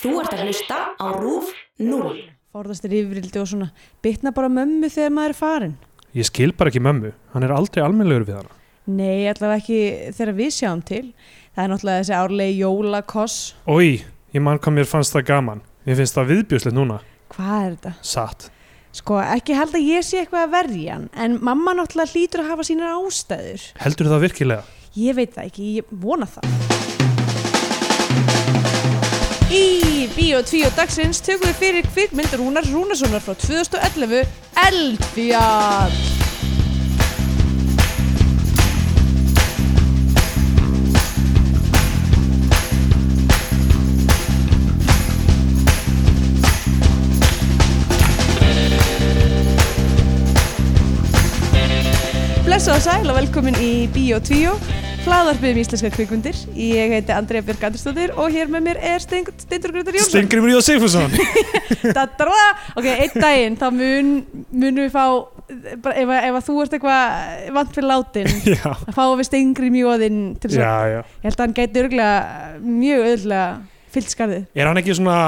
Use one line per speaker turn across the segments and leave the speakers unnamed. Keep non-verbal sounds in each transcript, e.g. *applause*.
Þú ert að hlusta á RÚF 0.
forðast er yfirildi og svona bitna bara á mömmu þegar maður er farin
Ég skil bara ekki mömmu, hann er aldrei almennlegur við hana.
nei, allavega ekki þegar við sjáum til það er náttúrulega þessi árlegi jólakoss
Ói, ég man hvað mér fannst það gaman. Mér finnst það viðbjörslega núna.
hvað er þetta?
Satt.
sko, ekki held að ég sé eitthvað að verja hann en mamma náttúrulega hlýtur að hafa sínar ástæður
Heldur það virkilega?
ég veit það ekki, ég vona það Í Bíó 2 dagsins tökum við fyrir kvikmynd Rúnar Rúnarssonar frá 2011 Eldfjall Blessað og sæl og velkomin í Bíó 2 hlaðarpið um íslenskar kvikmyndir Ég heiti Andrea Björk Andristóttir og hér með mér er Stein- Steindur Gröndar Jónsson
Stengrimur
*laughs*
Jóð Sigfússon.
Dadara. Ok, einn daginn þá mun, munum við fá bara, ef, að- ef að þú ert eitthvað vant fyrir látin
já,
þá fáum við Steingri mjóðinn til þess
já,
að
já.
ég held að hann gæti örgulega mjög öðlega fyllt skarðið
Er hann ekki svona,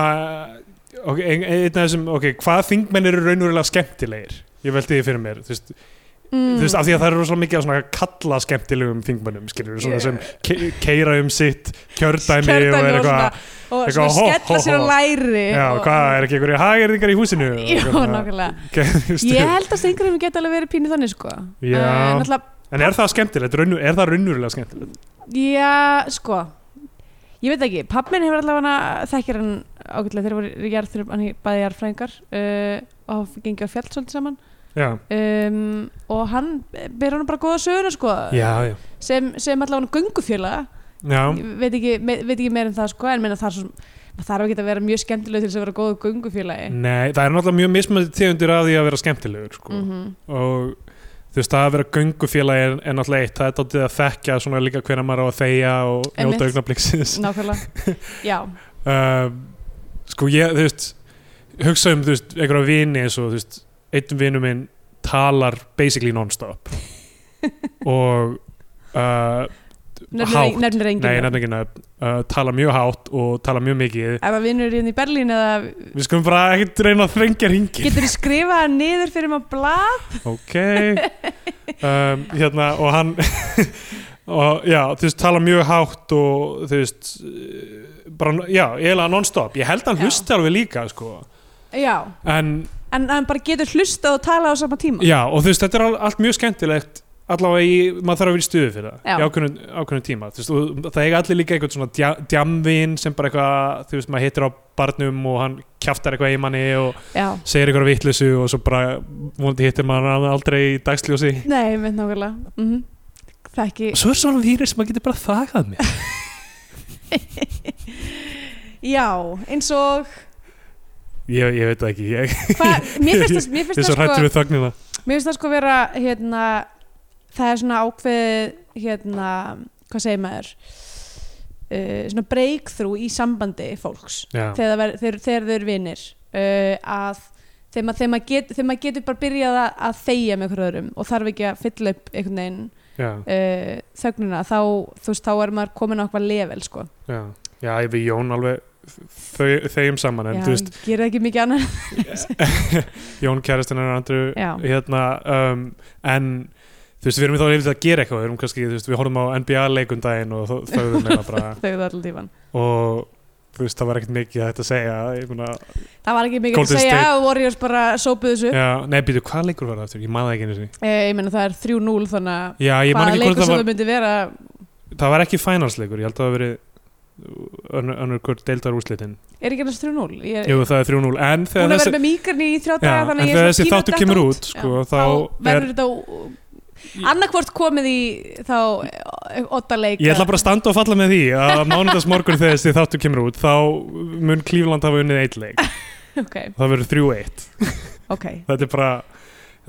ok, ein- einn af þessum, ok, hvaða þingmenn eru raunverulega skemmtilegir? Ég veldi því fyrir mér, þú veist, þú veist, af því að það eru rosalega mikið af svona kalla skemmtilegum þingmennum, skilur svona
Yeah.
sem ke keira um sitt kjördæmi, og
Kjördæmi
er
og svona-
eitthvað,
og
eitthvað
svona
hó, hó,
skella sér á
hó.
læri
já,
og,
hvað, er ekki einhverju hageringar í húsinu?
*laughs*
Og
Jú,
eitthvað svona-
nákvæmlega
Gerðist
Ég
þér?
held að Steingri mjög geti alveg verið pínu þannig sko
Já.
En náttúrulega,
En er það skemmtilegt? Raunur, er það raunverulega skemmtilegt?
já, sko Ég veit ekki, pappminn hefur allavega hana þekkir hann ágætlega þegar voru jarðþurr, hann er bæði jarðfræðingar uh, og hafa gengið á fjall svolítið saman
Já,
um, og hann ber hann bara góða söguna sko
já, já.
sem, sem allavega hann göngufjöla
já.
Ég veit ekki, me, veit ekki meir um það sko en meina það er svo maður þarf ekki að vera mjög skemmtileg til þess að vera góðu göngufélagi
Nei, það er náttúrulega mjög mismöndi tegundir af því að vera skemmtilegur sko.
Mhm.
og þú veist, það að vera göngufélagi er, er náttúrulega eitt, það er þáttið að þekkja svona líka hverja maður á að þegja og
Einmitt.
njóta augnabliksins *laughs*
nákvæmlega já,
uh, Sko ég, þú veist hugsa um, þú veist, einhverja vini eins og, þú veist, einn vinu minn talar basically
*laughs*
non-stop og uh, hátt,
nefnir, nefnir engin
nei, nefnir ekki nöfn uh, tala mjög hátt og tala mjög mikið
ef að vinnur hérna í Berlín eða
Við skulum bara ekkert reyna að þrengja ringin
getur þú skrifað hann niður fyrir maður blað
Ok um, Hérna og hann *laughs* og já, þú veist, tala mjög hátt og þú veist eh, bara, já, eiginlega non-stop ég held að hann
Já.
hlusti alveg líka, sko
já,
en,
en hann bara getur hlustað og talað á sama tíma
já, og þú veist, þetta er al- allt mjög skemmtilegt allavega í, maður þarf að vera í stuði fyrir það
Já.
í ákveðnum, ákveðnum tíma, þú veist, og það eiga allir líka eitthvað svona dja, djamvin sem bara eitthvað, þú veist, maður hittir á barnum og hann kjaftar eitthvað í manni og
já,
segir eitthvað vitleysu og svo bara, vonandi hittir maður hann aldrei í dagsljósi
nei, með nákvæmlega mm -hmm. það ekki
Svo er svona vírið sem maður getur bara þakað mér
já, eins og
Ég, ég veit það ekki, ég,
hva,
*laughs*
mér finnst það, mér
ég
finnst
er svo
það sko
hrættur við þögnina
Mér finnst það sko vera hérna, það er svona ákveðið hérna, hvað segir maður uh, svona breakthrough í sambandi fólks
Já,
þegar, það ver, þegar, þegar þau eru vinir uh, að þegar maður, þegar, maður get, þegar maður getur bara byrjað að, að þegja með einhverjum öðrum og þarf ekki að fylla upp einhvern veginn
já,
uh, þögnuna þá, þú veist, þá er maður komin á eitthvað level sko.
já Já, ég við Jón alveg þau, þeim saman en
Já,
þú veist,
ég gera ekki mikið annað
Jón kærastinn er andru
Já.
hérna, um, en þú veist, við erum þá yfir að gera eitthvað, við erum kannski, þú veist, við horfum á NBA leikum daginn og þó- þögðum eða bara
*laughs* þau það allir tífan
og þú veist, það var ekkert mikið að þetta segja ég meina,
það var ekki mikið
Golden
að segja
State.
að Warriors bara sópuðu þessu
já, nei, býtu, hvað leikur var það eftir? Ég maður það ekki einu sinni
uh, ég meina það er 3-0 þannig að
Já, ég man
hvaða
ekki hvort
leikur
það
sem
var,
það myndi vera
það var ekki finalsleikur, ég held að það hafi verið önnur- önnur hvort deildar úrslitin
er ekki annars 3-0 ég er
Jú, það er 3-0
búin
En þegar
að
þessi,
vera með míkarni í þrjá
já,
daga
en
þannig að ég
þegar
er
þessi
svona
þáttur
pínu
kemur
datt
út sko,
þá
þá, er,
verður þetta annarkvort komið í þá eh, ottaleik
Ég ætla bara að standa og falla með því að mánudags morgun þegar þessi þáttur kemur út þá mun Klífland hafa unnið eitt leik
*laughs* ok,
Það verður 3-1
ok,
Þetta er bara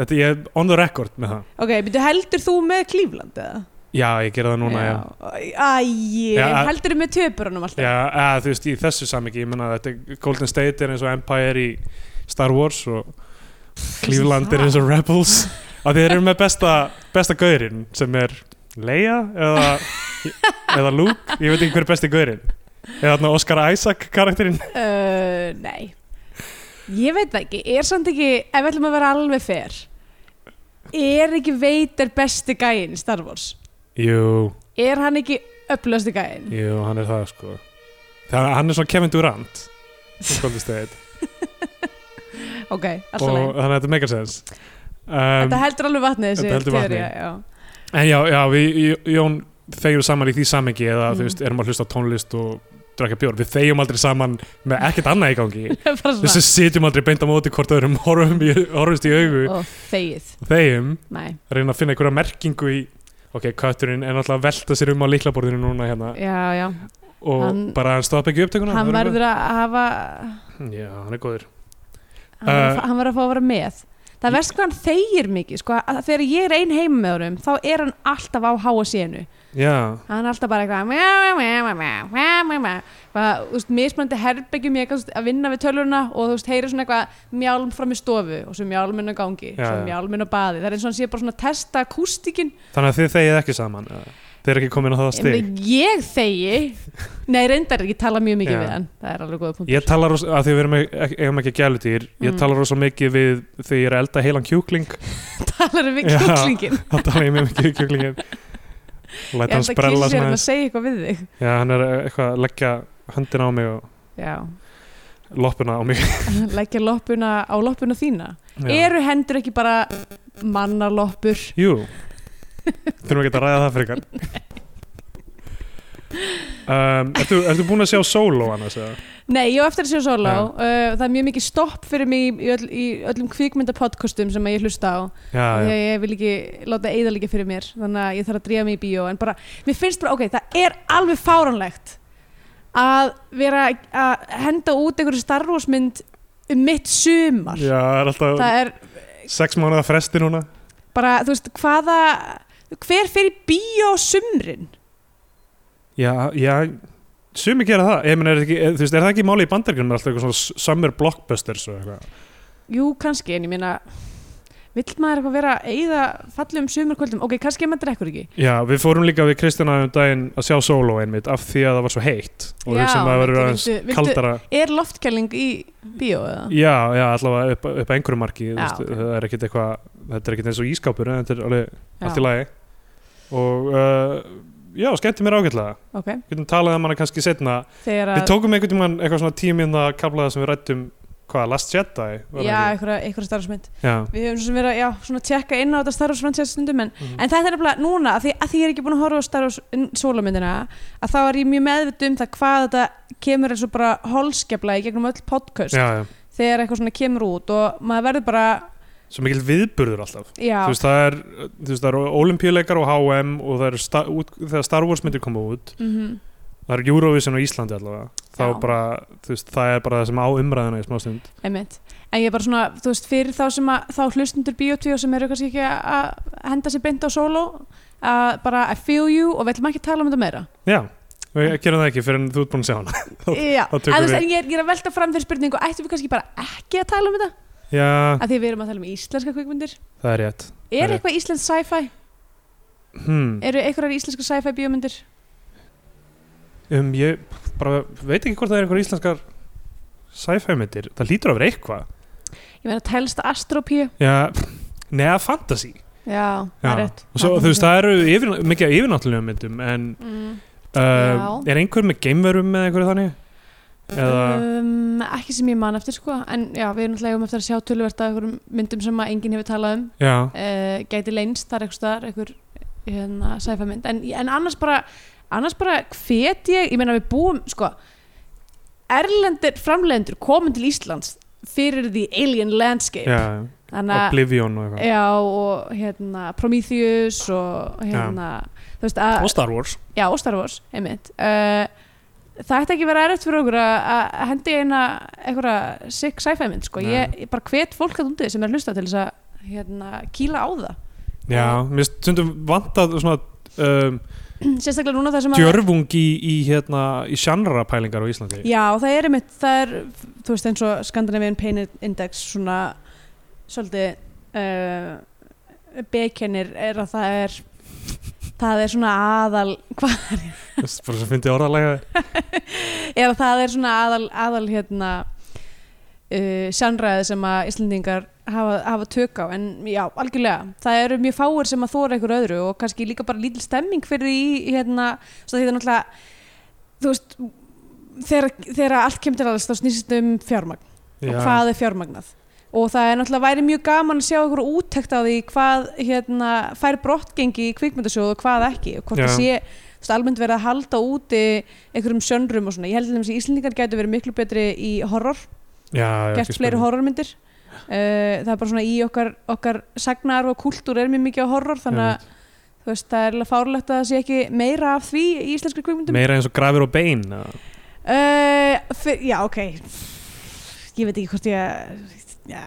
Þetta ég er on the record með það
ok, byrju heldur þú með Klífland eða?
Já, ég gera það núna Já,
Æi,
Já, að-
heldur þú með töpurunum alltaf?
já að, þú veist, í þessu samingi Ég menna þetta er- Golden State er eins og Empire í Star Wars og Klífland er eins og Rebels að þeir eru með besta, besta gaurinn sem er Leia eða, eða Luke, ég veit ekki hver er besti gaurinn eða þarna Oscar Isaac karakterinn
uh, nei ég veit það ekki, er samt ekki ef við ætlum að vera alveg fer er ekki veitir besti gæinn í Star Wars,
jú,
er hann ekki upplösti gæinn
jú, hann er það sko það, hann er svona
*laughs*
Kevin Durant um skoldistegitt
ok, alltaf
og
leið
þannig að þetta make a sense um,
þetta heldur alveg vatnið þessi
þetta heldur vatni.
teoría, já. *laughs*
en já, já, við J- Jón þegjum saman í því samengi eða
Mm.
þú veist, erum að hlusta á tónlist og drakka bjór, við þegjum aldrei saman með ekkert annað í gangi
*laughs* bara
þess
svona
að sitjum aldrei beint á móti hvort öðrum horfum í, horfumst í augu
og þegið,
og þegjum,
nei
reyna að finna einhverja merkingu í ok, kötturinn er náttúrulega að velta sér um á liklaborðinu núna hérna
já, já,
og
Hann-
bara hann stoppa ekki upptökuna
hann
það verður
verður að hafa
eitthvað. já, hann er góður
hann verður að
Uh,
fá- hann verður að fá að vera með það verðst hvað hann þegir mikið sko, að þegar ég er ein heima með honum þá er hann alltaf á háa sénu
já,
hann er alltaf bara eitthvað mjá, mjá, mjá, mjá, mjá, mjá, mjá. Bara, þú veist, mismunandi herbyggjum ég kannast að vinna við tölvuna og þú veist, heyri svona eitthvað mjálm fram í stofu og svo mjálminn á gangi,
Já,
svo
já.
mjálminn á baði það er eins og hann sé bara svona að testa akústikinn
þannig að þið þegið ekki saman eða? þið er ekki komin á það
Ég
stig
meina, ég þegi nei, reyndar ekki tala mjög mikið
Já.
við hann það er alveg góða punkt
Ég tala rosa, að því við erum ek- ek- eigum ekki gælutýr ég
Mm.
tala rosa mikið við þegar ég er að elda heilan kjúkling *laughs*
*laughs* talar um við
Já.
kjúklingin
þá tala ég mjög mikið við kjúklingin
ég
læta hann
held að
sprella
kísi sér
svona
um
aðeins.
að segja eitthvað við þig
Já, hann er eitthvað að leggja höndin á mig og
já,
loppuna á mig *laughs*
leggja loppuna á loppuna þína
Já.
eru hendur ekki bara mannaloppur
Jú þurfum ekki að ræða það
*laughs*
fyrir kann um, ertu, ertu búin að sjá solo annars eða?
Nei, ég á eftir að sjá solo
Já.
uh, Það er mjög mikið stopp fyrir mig í, í, öll, í öllum kvikmyndapodcastum sem að ég hlusta á
Já,
því
já,
að ég vil ekki láta eðalega fyrir mér þannig að ég þarf að drífa mig í bíó en bara, mér finnst bara, ok, það er alveg fáránlegt að vera að henda út einhverju starfosmynd um mitt sumar
já það er alltaf
það er
sex mánuða fresti núna
bara, þú veist, hvaða hver fer í bíó á sumrin
Já, já sumi gera það, ég meina er, þetta ekki, er, þú veist, er það ekki máli í bandargrunum alltaf eitthvað svona s- summer blockbusters og eitthvað,
Jú, kannski, en ég meina vill maður eitthvað vera að eyða fallegum sumarkvöldum, ok, kannski ef maður drekkur ekki
já við fórum líka við Kristjana um daginn að sjá solo einmitt af því að það var svo heitt og við
Já,
hugsaðum að það verður
vildu-
aðeins
vildu- vildu-
kaldara
Er loftkæling í bíó eða?
já, já, allavega upp, upp að einhverju marki þú
Já,
veist,
ok.
það er ekkit eitthvað, þetta er ekkit eins og ískápur en þetta er alveg allt í
Já,
lagi og uh, já, skemmti mér ágætlega
Ok,
getum talað um hana kannski setna
þegar
við
að
tókum einhvern tímann eitthvað svona tíminn að kaflaða sem við rættum hvað, Last Jedi? var það
Já,
ekki?
einhverja, einhverja starfsmynd
já.
Við höfum svo sem verið að, já, svona tjekka inn á þetta starfsmynd stundum en,
Mhm.
en þetta er nefnilega núna að því, að því ég er ekki búin að horfa á starfsmyndina að þá er ég mjög meðvitt um það hvað þetta kemur eins og bara holskefla í gegnum öll podcast
já, já
þegar eitthvað svona kemur út og maður verður bara,
svo mikil viðburður alltaf
já,
þú veist, það er, þú veist, það eru olimpíuleikar og HM og það eru sta, út, þegar Star Wars myndir koma út
mhm,
það eru Eurovision á Íslandi allavega þá
Já.
er bara, þú veist, það er bara það sem á umræðina í smá stund
einmitt En ég er bara svona, þú veist, fyrir þá sem að þá hlustundur bíotvíu sem eru kannski ekki að að henda sér beint á solo að bara I feel you og við ætlum ekki að tala um þetta meira
já, við gerum það ekki fyrir en þú ert búin að sjá
*laughs*
hana
Já,
þá
en
tökum
þú veist,
við-
en ég er, ég er að velta fram fyrir spurningu ættum við kannski bara ekki að tala um þetta
já,
af því við erum að tala um íslenska kvikmyndir
það er rétt
Er
Nei.
eitthvað íslensk sci-fi?
hmm.
Eru einhverjar íslenska sci-fi bíómyndir?
um, ég bara veit ekki hvort það er einhver íslenskar sci-fi myndir, það lítur að vera eitthvað
Ég meina, telst Astropíu?
já, neða fantasy
Já, það
Já.
er rétt
og svo, þú veist, það eru yfir, mikið af yfirnáttúrulega myndum en
mm.
Uh, er einhver með geimverum eða einhverju þannig? Eða,
um, Ekki sem ég man eftir, sko En já, við erum náttúrulega um eftir að sjá töluvert af einhverjum myndum sem að enginn hefur talað um
já,
uh, Gæti leynst, það er eitthvað staðar einhver hérna, sci-fi mynd en, en annars bara, annars bara hvet ég ég meina við búum, sko Erlendir framleiðendur komum til Íslands fyrir the alien landscape
já,
Þannig að
Oblivion og eitthvað
Já, og hérna Prometheus og hérna þú veist að,
Og Star Wars
já, og Star Wars, einmitt uh, Það ætti ekki að vera erfitt fyrir okkur að að hendi eina einhverja sick sci-fi mynd, sko
Nei.
ég, ég bara hvet fólk að úti sem er að hlusta til þess að hérna, kýla á það
Já, mér finnst stundum vantað svona um,
Sérstaklega núna það sem að
djörfung í, í, hérna, í sjannra pælingar á Íslandi
Já, það er einmitt, það er þú veist eins og Scandinavian Pain Index svona svolítið uh, bekennir er að það er það er svona aðal hva,
bara svo fyndi orðalega
*laughs* eða það er svona aðal, aðal hérna uh, sjannræði sem að Íslendingar hafa, hafa tök á en já, algjörlega, það eru mjög fáir sem að þóra einhver öðru og kannski líka bara lítil stemming fyrir því hérna, svo því það er náttúrulega þú veist þegar, þegar allt kemur til alls þá snýst þetta um fjármagn og hvað er fjármagnað og það er náttúrulega væri mjög gaman að sjá okkur úttekt á því hvað hérna, fær brottgengi í kvikmyndasjóð og hvað ekki og hvort
Já.
það sé þú veist, almennt verið að halda úti einhverjum sjöndrum og svona ég held að þessi Íslendingar gætu verið miklu betri í horror
já, já,
gert fleiri horrormyndir uh, það er bara svona í okkar, okkar sagnar og kultúr er mjög mikið á horror þannig að þú veist, það er alveg fárlegt að það sé ekki meira af því í íslenskri kvikmyndum
meira eins og grafir og bein eða?
uh, fyr, já, ok ég veit ekki hvort ég já.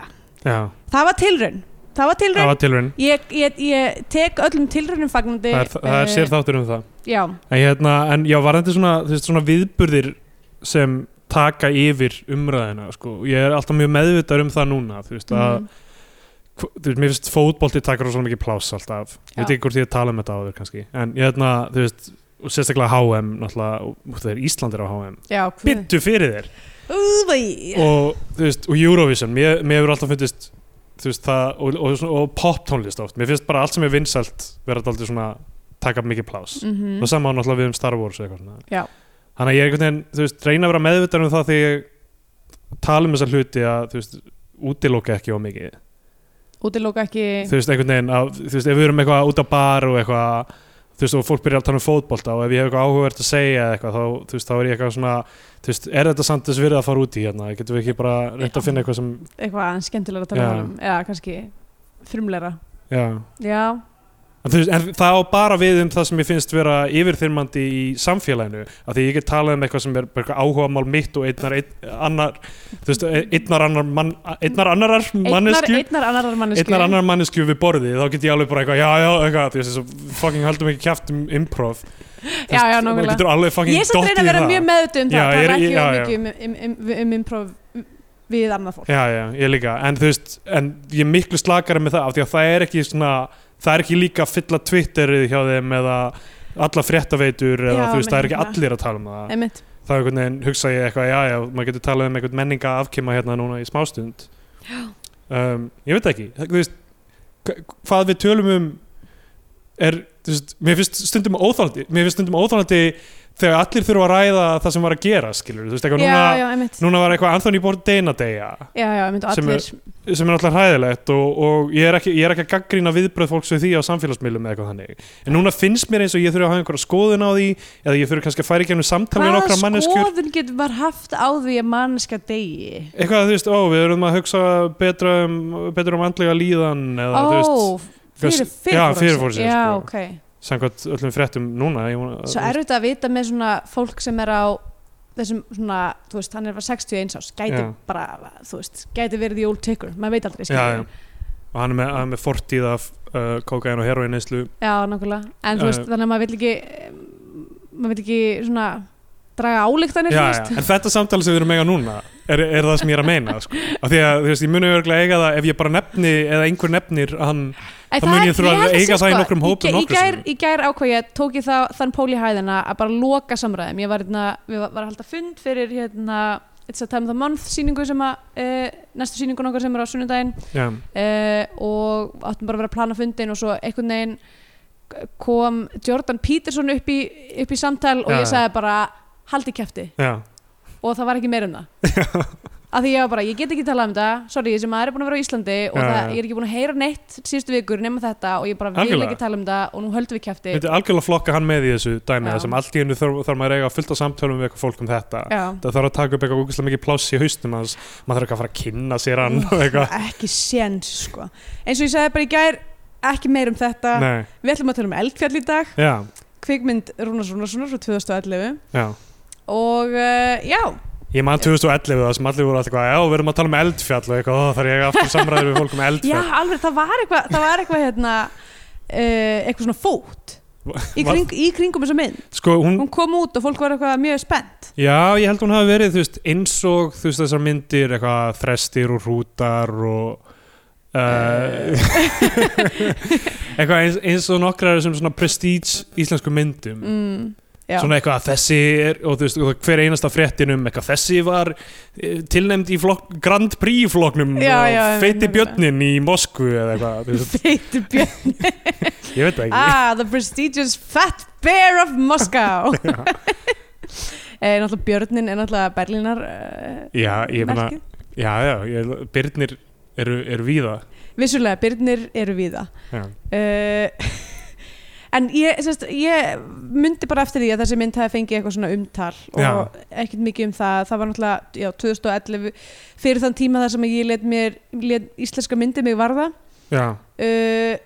já,
það var tilraun það var tilraun
það var tilraun
ég, ég, ég tek öllum tilraunum fagnandi
það er, það er
eh,
sér þáttur um það
já,
en, hérna, en já, varðandi svona, þú veist, svona viðburðir sem taka yfir umræðina sko. ég er alltaf mjög meðvitaður um það núna þú veist, að
mm,
hv- þú veist, mér finnst fótbolti takkar svona mikið pláss alltaf, ég
Já.
veit ekki hvort ég er að tala um þetta áður kannski, en ég hefna, þú veist og sérstaklega HM, náttúrulega og, og þeir Íslandir á HM,
já
byttu fyrir þér
Úvæ,
og þú veist, og Eurovision mér, mér hefur alltaf fundist þú veist, það, og, og, og, og poptónlist oft, mér finnst bara allt sem er vinsælt vera þetta svona taka mikið pláss,
mm
og sama á náttúrulega við um Star Wars eða eitthvað
Já.
svona þannig að ég er einhvern veginn, þú veist, reyna að vera meðvitað um það þegar ég tala um þessa hluti að, þú veist, útiloka ekki á mikið
útiloka ekki
þú veist, einhvern veginn að, þú veist, ef við erum eitthvað út á bar og eitthvað, þú veist, og fólk byrjar að tala um fótbolta og ef ég hef eitthvað áhugavert að segja eða eitthvað, þá, þú veist, þá er ég eitthvað svona þú veist, er þetta samt þess virði að fara út í hérna getum við ekki bara reynt að finna eitthvað sem
eitthvað aðeins skemmtilega að tala
Já.
um já, kannski frumleira
já,
já,
en þú veist, en það á bara við um það sem ég finnst vera yfirþyrmandi í samfélaginu, af því ég get talað um eitthvað sem er bara eitthvað áhugamál mitt og einnar ein- annar, þú veist, einnar annar mann, einnar annarar
einnar,
mannesku
einnar annar mannesku
einnar annar mannesku við borðið þá get ég alveg bara eitthvað, já, já, eitthvað þú veist, þessu fucking haldum ekki kjæft um improv Þú
Já,
veist,
já,
maður
nákvæmlega.
getur alveg fucking
ég er samt að reyna að
dottið í
vera
það.
mjög meðutum um
Já,
það
ég er-
tala ekki
já,
of
já.
mikið um, um, um, um improv við annað fólk
já, já, ég líka, en þú veist en ég er miklu slakari með það, af því að það er ekki svona, það er ekki líka að fylla Twitterið hjá þeim eða alla fréttaveitur eða
Já,
þú veist, það er ekki
meina.
allir að tala um það
einmitt,
þá einhvern veginn hugsa ég eitthvað, já, já, maður getur talað um einhvern menninga afkima hérna núna í smástund um, ég veit ekki þú veist, hva- hvað við tölum um er, þú veist mér finnst stundum óþálandi mér finnst stundum óþálandi þegar allir þurfa að ræða það sem var að gera, skilur, þú veist,
já,
eitthvað núna
já, einmitt
núna var eitthvað Anthony Bourdain að deyja
já, já, einmitt og
sem
allir
sem er alltaf hræðilegt og, og ég, er ekki, ég er ekki að gaggrína viðbröð fólks við því á samfélagsmiðlum eða eitthvað þannig en núna finnst mér eins og ég þurfi að hafa einhverja skoðun á því eða ég þurfi kannski að færa í gegnum samtal með
hvaða
nokkra manneskjur
skoðun getur var haft á því að manneskja degi
eitthvað að þú veist, ó, við erum að hugsa betra um, betra um andlega líðan eða þú veist,
ó, fyrir
Hvers-
fyrir
já,
fór að segja.
fyrirfór sér,
já,
sko.
ok
samkvæmt öllum fréttum núna ég, vona-
svo erfitt að vita með svona fólk sem er á þessum svona, þú veist, hann er bara 61 ás gæti
Já.
bara, þú veist, gæti verið the old ticker, maður veit aldrei
já, já.
skilurðu.
og hann er með, hann er með fortíð af uh, kókain og heroin einslu
já, nákvæmlega, en
Já,
þú veist,
já.
þannig að maður vill ekki um, maður vill ekki svona draga álíktanir,
já,
þú
já.
veist
en þetta samtal sem við erum að eiga núna er, er það sem ég er að meina sko. af því að þú veist, ég muni örgulega eiga það ef ég bara nefni eða einhver nefnir hann
Æ,
Það mun ég þurfa
held
að
sé,
eiga það í
sko,
nokkrum hópum
í, ge-
nokkrum
í gær,
sinnum.
í gær ákvað ég tók ég það, þann pól í hæðina að bara loka samræðum ég var, hérna, við var var að halda fund fyrir hérna, It's a Time of the Month síningu sem að uh, næstu síningun okkar sem er á sunnudaginn
já,
uh, og áttum bara að vera að plana fundin og svo einhvern veginn kom Jordan Peterson upp í, upp í samtal og
Já,
ég
já.
sagði bara haldi kæfti
já,
og það var ekki meira um það af því ég var bara, ég get ekki talað um þetta sorry, þessi maður er búin að vera á Íslandi og
Já,
það,
já.
ég er ekki búin að heyra neitt síðustu vikur nema þetta og ég bara vil
Algjörlega.
ekki tala um þetta og nú höldum við kæfti
þetta er algjörlega að flokka hann með í þessu dæmi
Já.
þar sem allt í hennu þarf, þarf maður að eiga fullt af samtölum við eitthvað fólk um þetta
já,
það þarf að taka upp eitthvað úkislega mikið pláss í haustum hans maður þarf ekki að fara að kynna sér hann og eitthvað
ekki séns sko. eins og ég sagði bara í gær ekki meira um þetta,
Nei,
við ætlum að tala um eldfjall í dag
já,
kvikmynd Rúnars Rúnarssonar frá 2011
já
og uh, já,
Ég man 2011 það sem allir voru alltaf eitthvað, já, við erum að tala um eldfjall og eitthvað, "Ó, þarf ég aftur samræður við fólk
*laughs*
um
já
eldfjall.
alveg það var eitthvað, það var eitthvað hérna uh, eitthvað svona fót í,
Var-
kring, í kringum þessa mynd,
Sko, hún,
hún kom út og fólk var eitthvað mjög spennt
Já, ég held hún hafi verið þú veist, eins og þú veist, þessar myndir eitthvað þrestir og hrútar og
Eh.
Uh, *laughs* eitthvað eins, eins og nokkrar sem svona prestige íslensku myndum
mm, já,
svona eitthvað að þessi er og þú veist, og hver einasta fréttin um eitthvað þessi var eh, tilnefnd í flokk, Grand Prix í flokknum
Já,
og
já, ég
feiti
meina.
björnin í Moskvu eða eitthvað, þú
*laughs*
veist,
feitur
*laughs*
björn
ég veit það ekki
ah, the prestigious fat bear of
*laughs*
Moscow Eh, náttúrulega björnin er náttúrulega Berlínar uh,
já, ég meina, já, já, ég, byrnir eru, eru víða
vissulega, björnir eru víða
já.
uh, *laughs* en ég, sérst, ég myndi bara eftir því að þessi mynd hafi fengið eitthvað svona umtal og
Já.
ekkert mikið um það það var náttúrulega, já, 2011 fyrir þann tíma þar sem ég let mér let íslenska myndi mig varða
já,
uh,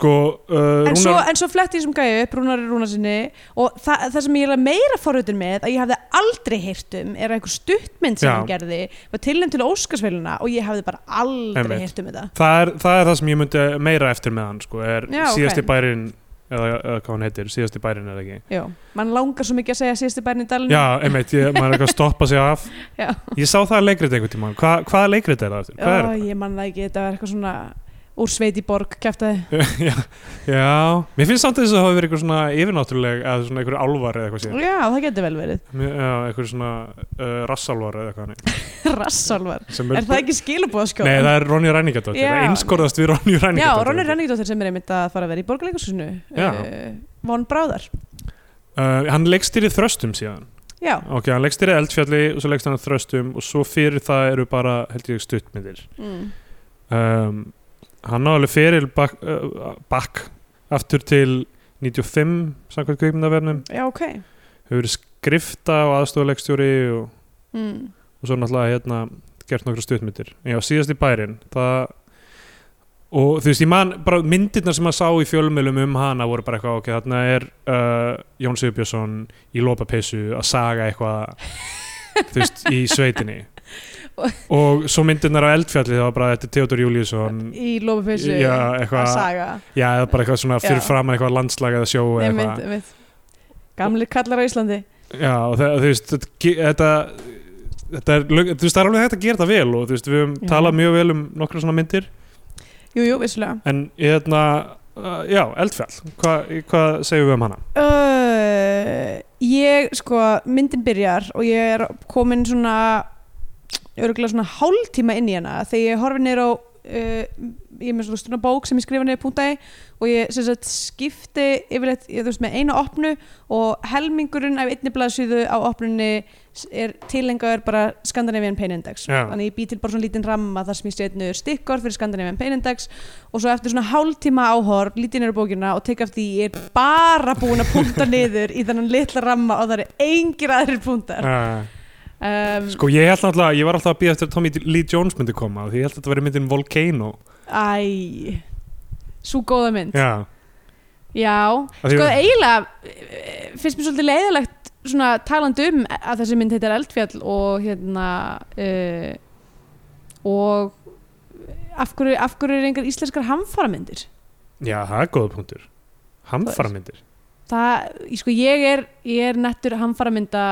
sko uh,
en,
Rúnar,
svo, en svo fletti ég sem gæði upp Rúnari Rúnarsinni og það, það sem ég er eiginlega meira forröðin með að ég hafði aldrei heyrt um er einhver stuttmynd sem
Já.
hann gerði var tilnæmt til Óskarsveiluna og ég hafði bara aldrei
Einmitt.
heyrt um þetta
það, er, það er það sem ég myndi meira eftir með hann, sko, er
Já, ok.
síðasti bærin eða, eða hvað hann heitir, síðasti bærin er það ekki
já, mann langar svo mikið að segja síðusti bærni í dalinu
Já, einmitt, ég, maður er eitthvað að stoppa sig af
Mm. *laughs* Já.
Ég sá það leikrit einhvern tímann Hva, Hvaða leikrit er það? aftur? Hvað
Ó,
er
ég man það ekki, þetta var eitthvað svona úr sveit í borg, kæftaði
það? *laughs* já, já, mér finnst samt að þess að það hafi verið eitthvað svona yfirnáttúruleg eða svona einhver álvar eða eitthvað sér
Já, það getur vel verið, *laughs*
Mér- Já, einhver svona uh, rassálvar eða eitthvað hannig
rassálvar
sem
Er það ekki skilubóðskjóð?
Nei, það er Ronja Ræningadóttir
Já.
Það einskorðast við Ronju
Já,
Ræningadóttir
Ronny Renningdóttir sem er einmitt að fara að vera í borgarleikusinu
Já.
Von Bráðar
uh, Hann leikstýrið þröstum síðan
Já,
Ok, hann leikstýrið eldfjalli og svo leikst hann þröstum og svo fyrir það eru bara, held ég, stuttmyndir
mm.
um, hann á alveg feril bak, uh, bak aftur til 95 samkvæmt kveikmyndavefnum
já ok
hefur verið skrifta og aðstofuleikstjóri og,
mm.
og svo náttúrulega hérna gert nokkra stuttmyndir já, síðast í bærin það og þú veist, ég man bara myndirnar sem maður sá í fjölmjölum um hana voru bara eitthvað ok, þarna er uh, Jón Sigurbjörnsson í lópapeysu að saga eitthvað þú veist,
*laughs*
í sveitinni og svo myndirnar á eldfjalli það var bara þetta er Theodor Júlíusson
Í lófafeysu
Já,
að
eitthvað
saga
Já, eða bara eitthvað svona fyrir
Já.
framan eitthvað landslag eða sjó eða
einmitt,
eitthvað
einmitt. Gamli kallar á Íslandi
Já, og það, þú veist, þetta, ge- þetta Þetta er, lög- þú veist, það er alveg hægt að gera þetta vel og þú veist, við höfum
Já.
talað mjög vel um nokkra svona myndir
Jú, jú, vissulega
en ég hérna, uh, já, eldfjall hvað hva segjum við um hana?
Uh, ég sko, myndin byrjar og ég er komin svona örgulega svona hálftíma inn í hana þegar ég horfi neyra á uh, ég er með svona stundar bók sem ég skrifa neyra púntaði og ég sem sagt skipti yfirleitt, ég, þú veist, með eina opnu og helmingurinn af einni blaðsýðu á opnunni s- er tilengar bara Scandinavian Pain Index
Já.
þannig ég bý til bara svona lítinn ramma þar sem ég setnur stikkor fyrir Scandinavian Pain Index og svo eftir svona hálftíma áhorf lítið niður á bókina og tek eftir því ég er bara búin að punta niður í þannan litla ramma og það eru engir aðrir puntar
Uh,
um,
sko, ég held náttúrulega, ég var alltaf að býja eftir að Tommy Lee Jones myndi koma því ég held að þetta veri myndin Volcano
Æ Svo góða mynd
Já,
Já,
Af því-
sko eiginlega eh, finnst mér svolítið leiðilegt svona talandi um að þessi mynd heitir Eldfjall og hérna uh, og af hverju, af hverju er einhver íslenskar hamfaramyndir?
já, það er góða punktur Hamfaramyndir
Það, ég- sko ég er, ég er nettur hamfaramynda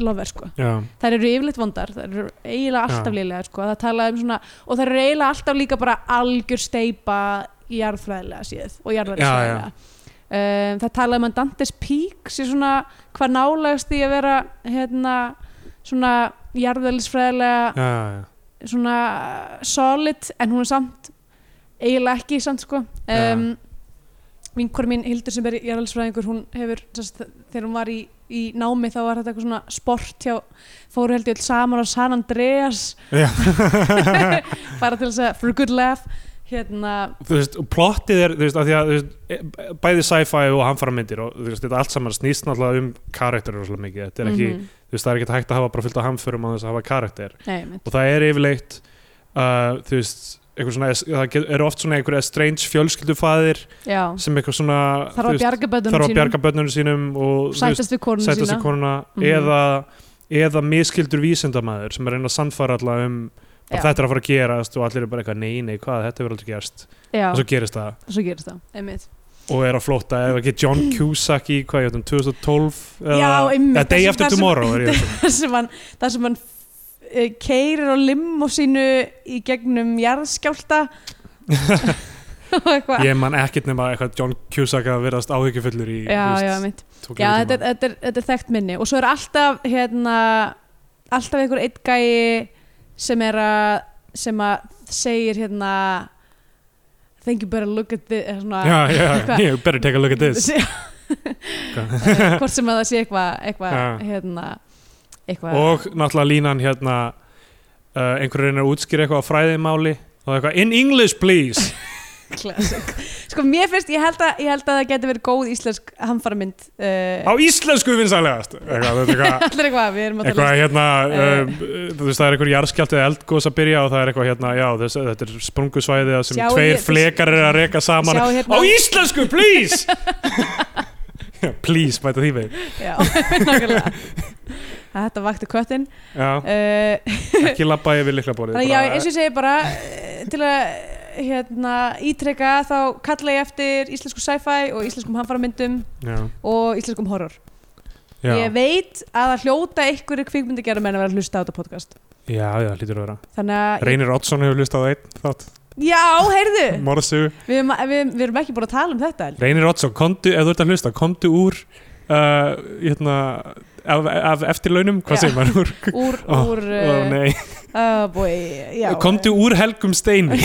lover sko.
Já,
þær eru yfirleitt vondar, þær eru eiginlega alltaf
Já.
liðlega sko, það talaði um svona og þær eru eiginlega alltaf líka bara algjör steipa jarðfræðilega séð og jarðfræðilega um, það talaði um að Dantes Peak sé svona hvað nálegast því að vera hérna svona jarðfræðilega
já, já
svona solid en hún er samt eiginlega ekki samt sko um, vinkor mín Hildur sem er jarðfræðingur hún hefur, sérst, þegar hún var í, í námi þá var þetta eitthvað svona sport hjá, fóru held ég öll saman á San Andreas
Já.
*laughs* bara til þess að for a good laugh hérna,
þú veist, og plottið er þú veist, að því að þú veist, e- bæði sci-fi og hamfaramyndir og þú veist, þetta allt saman snýst náttúrulega um karakter rosalega mikið, þetta er ekki,
mhm.
þú veist, það er ekki hægt að hafa bara fullt af hamförum á þess að hafa karakter
Nei, einmitt.
og það er yfirleitt uh, þú veist, einhver svona es- það get- eru oft svona einhver strange fjölskyldufaðir
já,
sem eitthvað svona
þarf
þú
að
veist,
bjarga bönnum
þarf að
sínum
bjarga bönnunum sínum og þú veist,
sætast við konuna
sætast
sína
í konuna
Mhm.
eða, eða miskildur vísindamæður sem er að reyna að sannfara alla um að
Já.
þetta er að fara að gerast og allir eru bara eitthvað nei, nei, hvað, þetta verður aldrei gerst
já,
og svo gerist það
svo gerist það einmitt.
og er að flótta eða ekki
*clears throat*
John Cusack í hvað ég veit um 2012 eða,
Já, einmitt,
eða Day
það sem-
After
það sem- *laughs*
Tomorrow er ég að segja.
það sem hann, það sem hann keirir á limmu sínu í gegnum jarðskjálta og eitthvað
um. ég man ekkert nema eitthvað John Cusack að verðast áhyggjufullur í
já,
þú
já,
veist,
mitt
tvo
já, þetta, er,
klukkutíma.
þetta, er, þetta er þekkt minni og svo er alltaf hérna, alltaf einhver eitt gæi sem er að sem að segir hérna I think you better look at this svona,
já, já,
*laughs* eitthvað.
you better take a look
*laughs*
at this
Eh, *laughs* hvort sem að það sé eitthvað eitthvað
Já.
hérna eitthvað
og náttúrulega línan hérna uh, einhverju reynir að útskýra eitthvað á fræðimáli og eitthvað in English
*laughs*
please
Classic. sko mér finnst, ég held að, ég held að það geti verið góð íslensk hamfaramynd uh,
á íslensku vinsalegast eitthvað, þetta er
*laughs*
eitthvað
allir eitthvað, við erum að tala
eitthvað hérna
Eh.
um, þú veist það er einhver jarðskjálti eða eldgós að byrja og það er eitthvað hérna já þess, þetta er sprungusvæði þar sem
Sjáu
tveir
hér-
flekar eru að reka saman
Sjáu hérna-
á íslensku
*laughs*
please Já, please bæta því við
Já, *laughs* nákvæmlega. þetta vakti köttin
já,
uh,
ekki labba yfir liklaborið
Þannig já, eins og ég segi bara eh, til að hérna, ítreka þá kalla ég eftir íslensku sci-fi og íslenskum hamfaramyndum
já,
og íslenskum horror.
já,
Ég veit að það hljóta einhverju kvikmyndagjara menn að vera að hlusta á þetta podcast.
já, já, lítur að vera
Þannig að...
Reynir Oddsson hefur hlustað á einn þátt
Já, heyrðu!
morðsugu
Við, erum- við, við erum ekki búin að tala um þetta. held ég.
Reynir Oddsson, komdu, ef þú ert að hlusta komdu úr uh, hérna, af, af eftirlaunum
Já.
hvað segir maður úr
Úr,
*laughs* Ó,
úr...
Ó,
eh,
nei
ah, boy, já.
komdu úr
*laughs*
helgum steini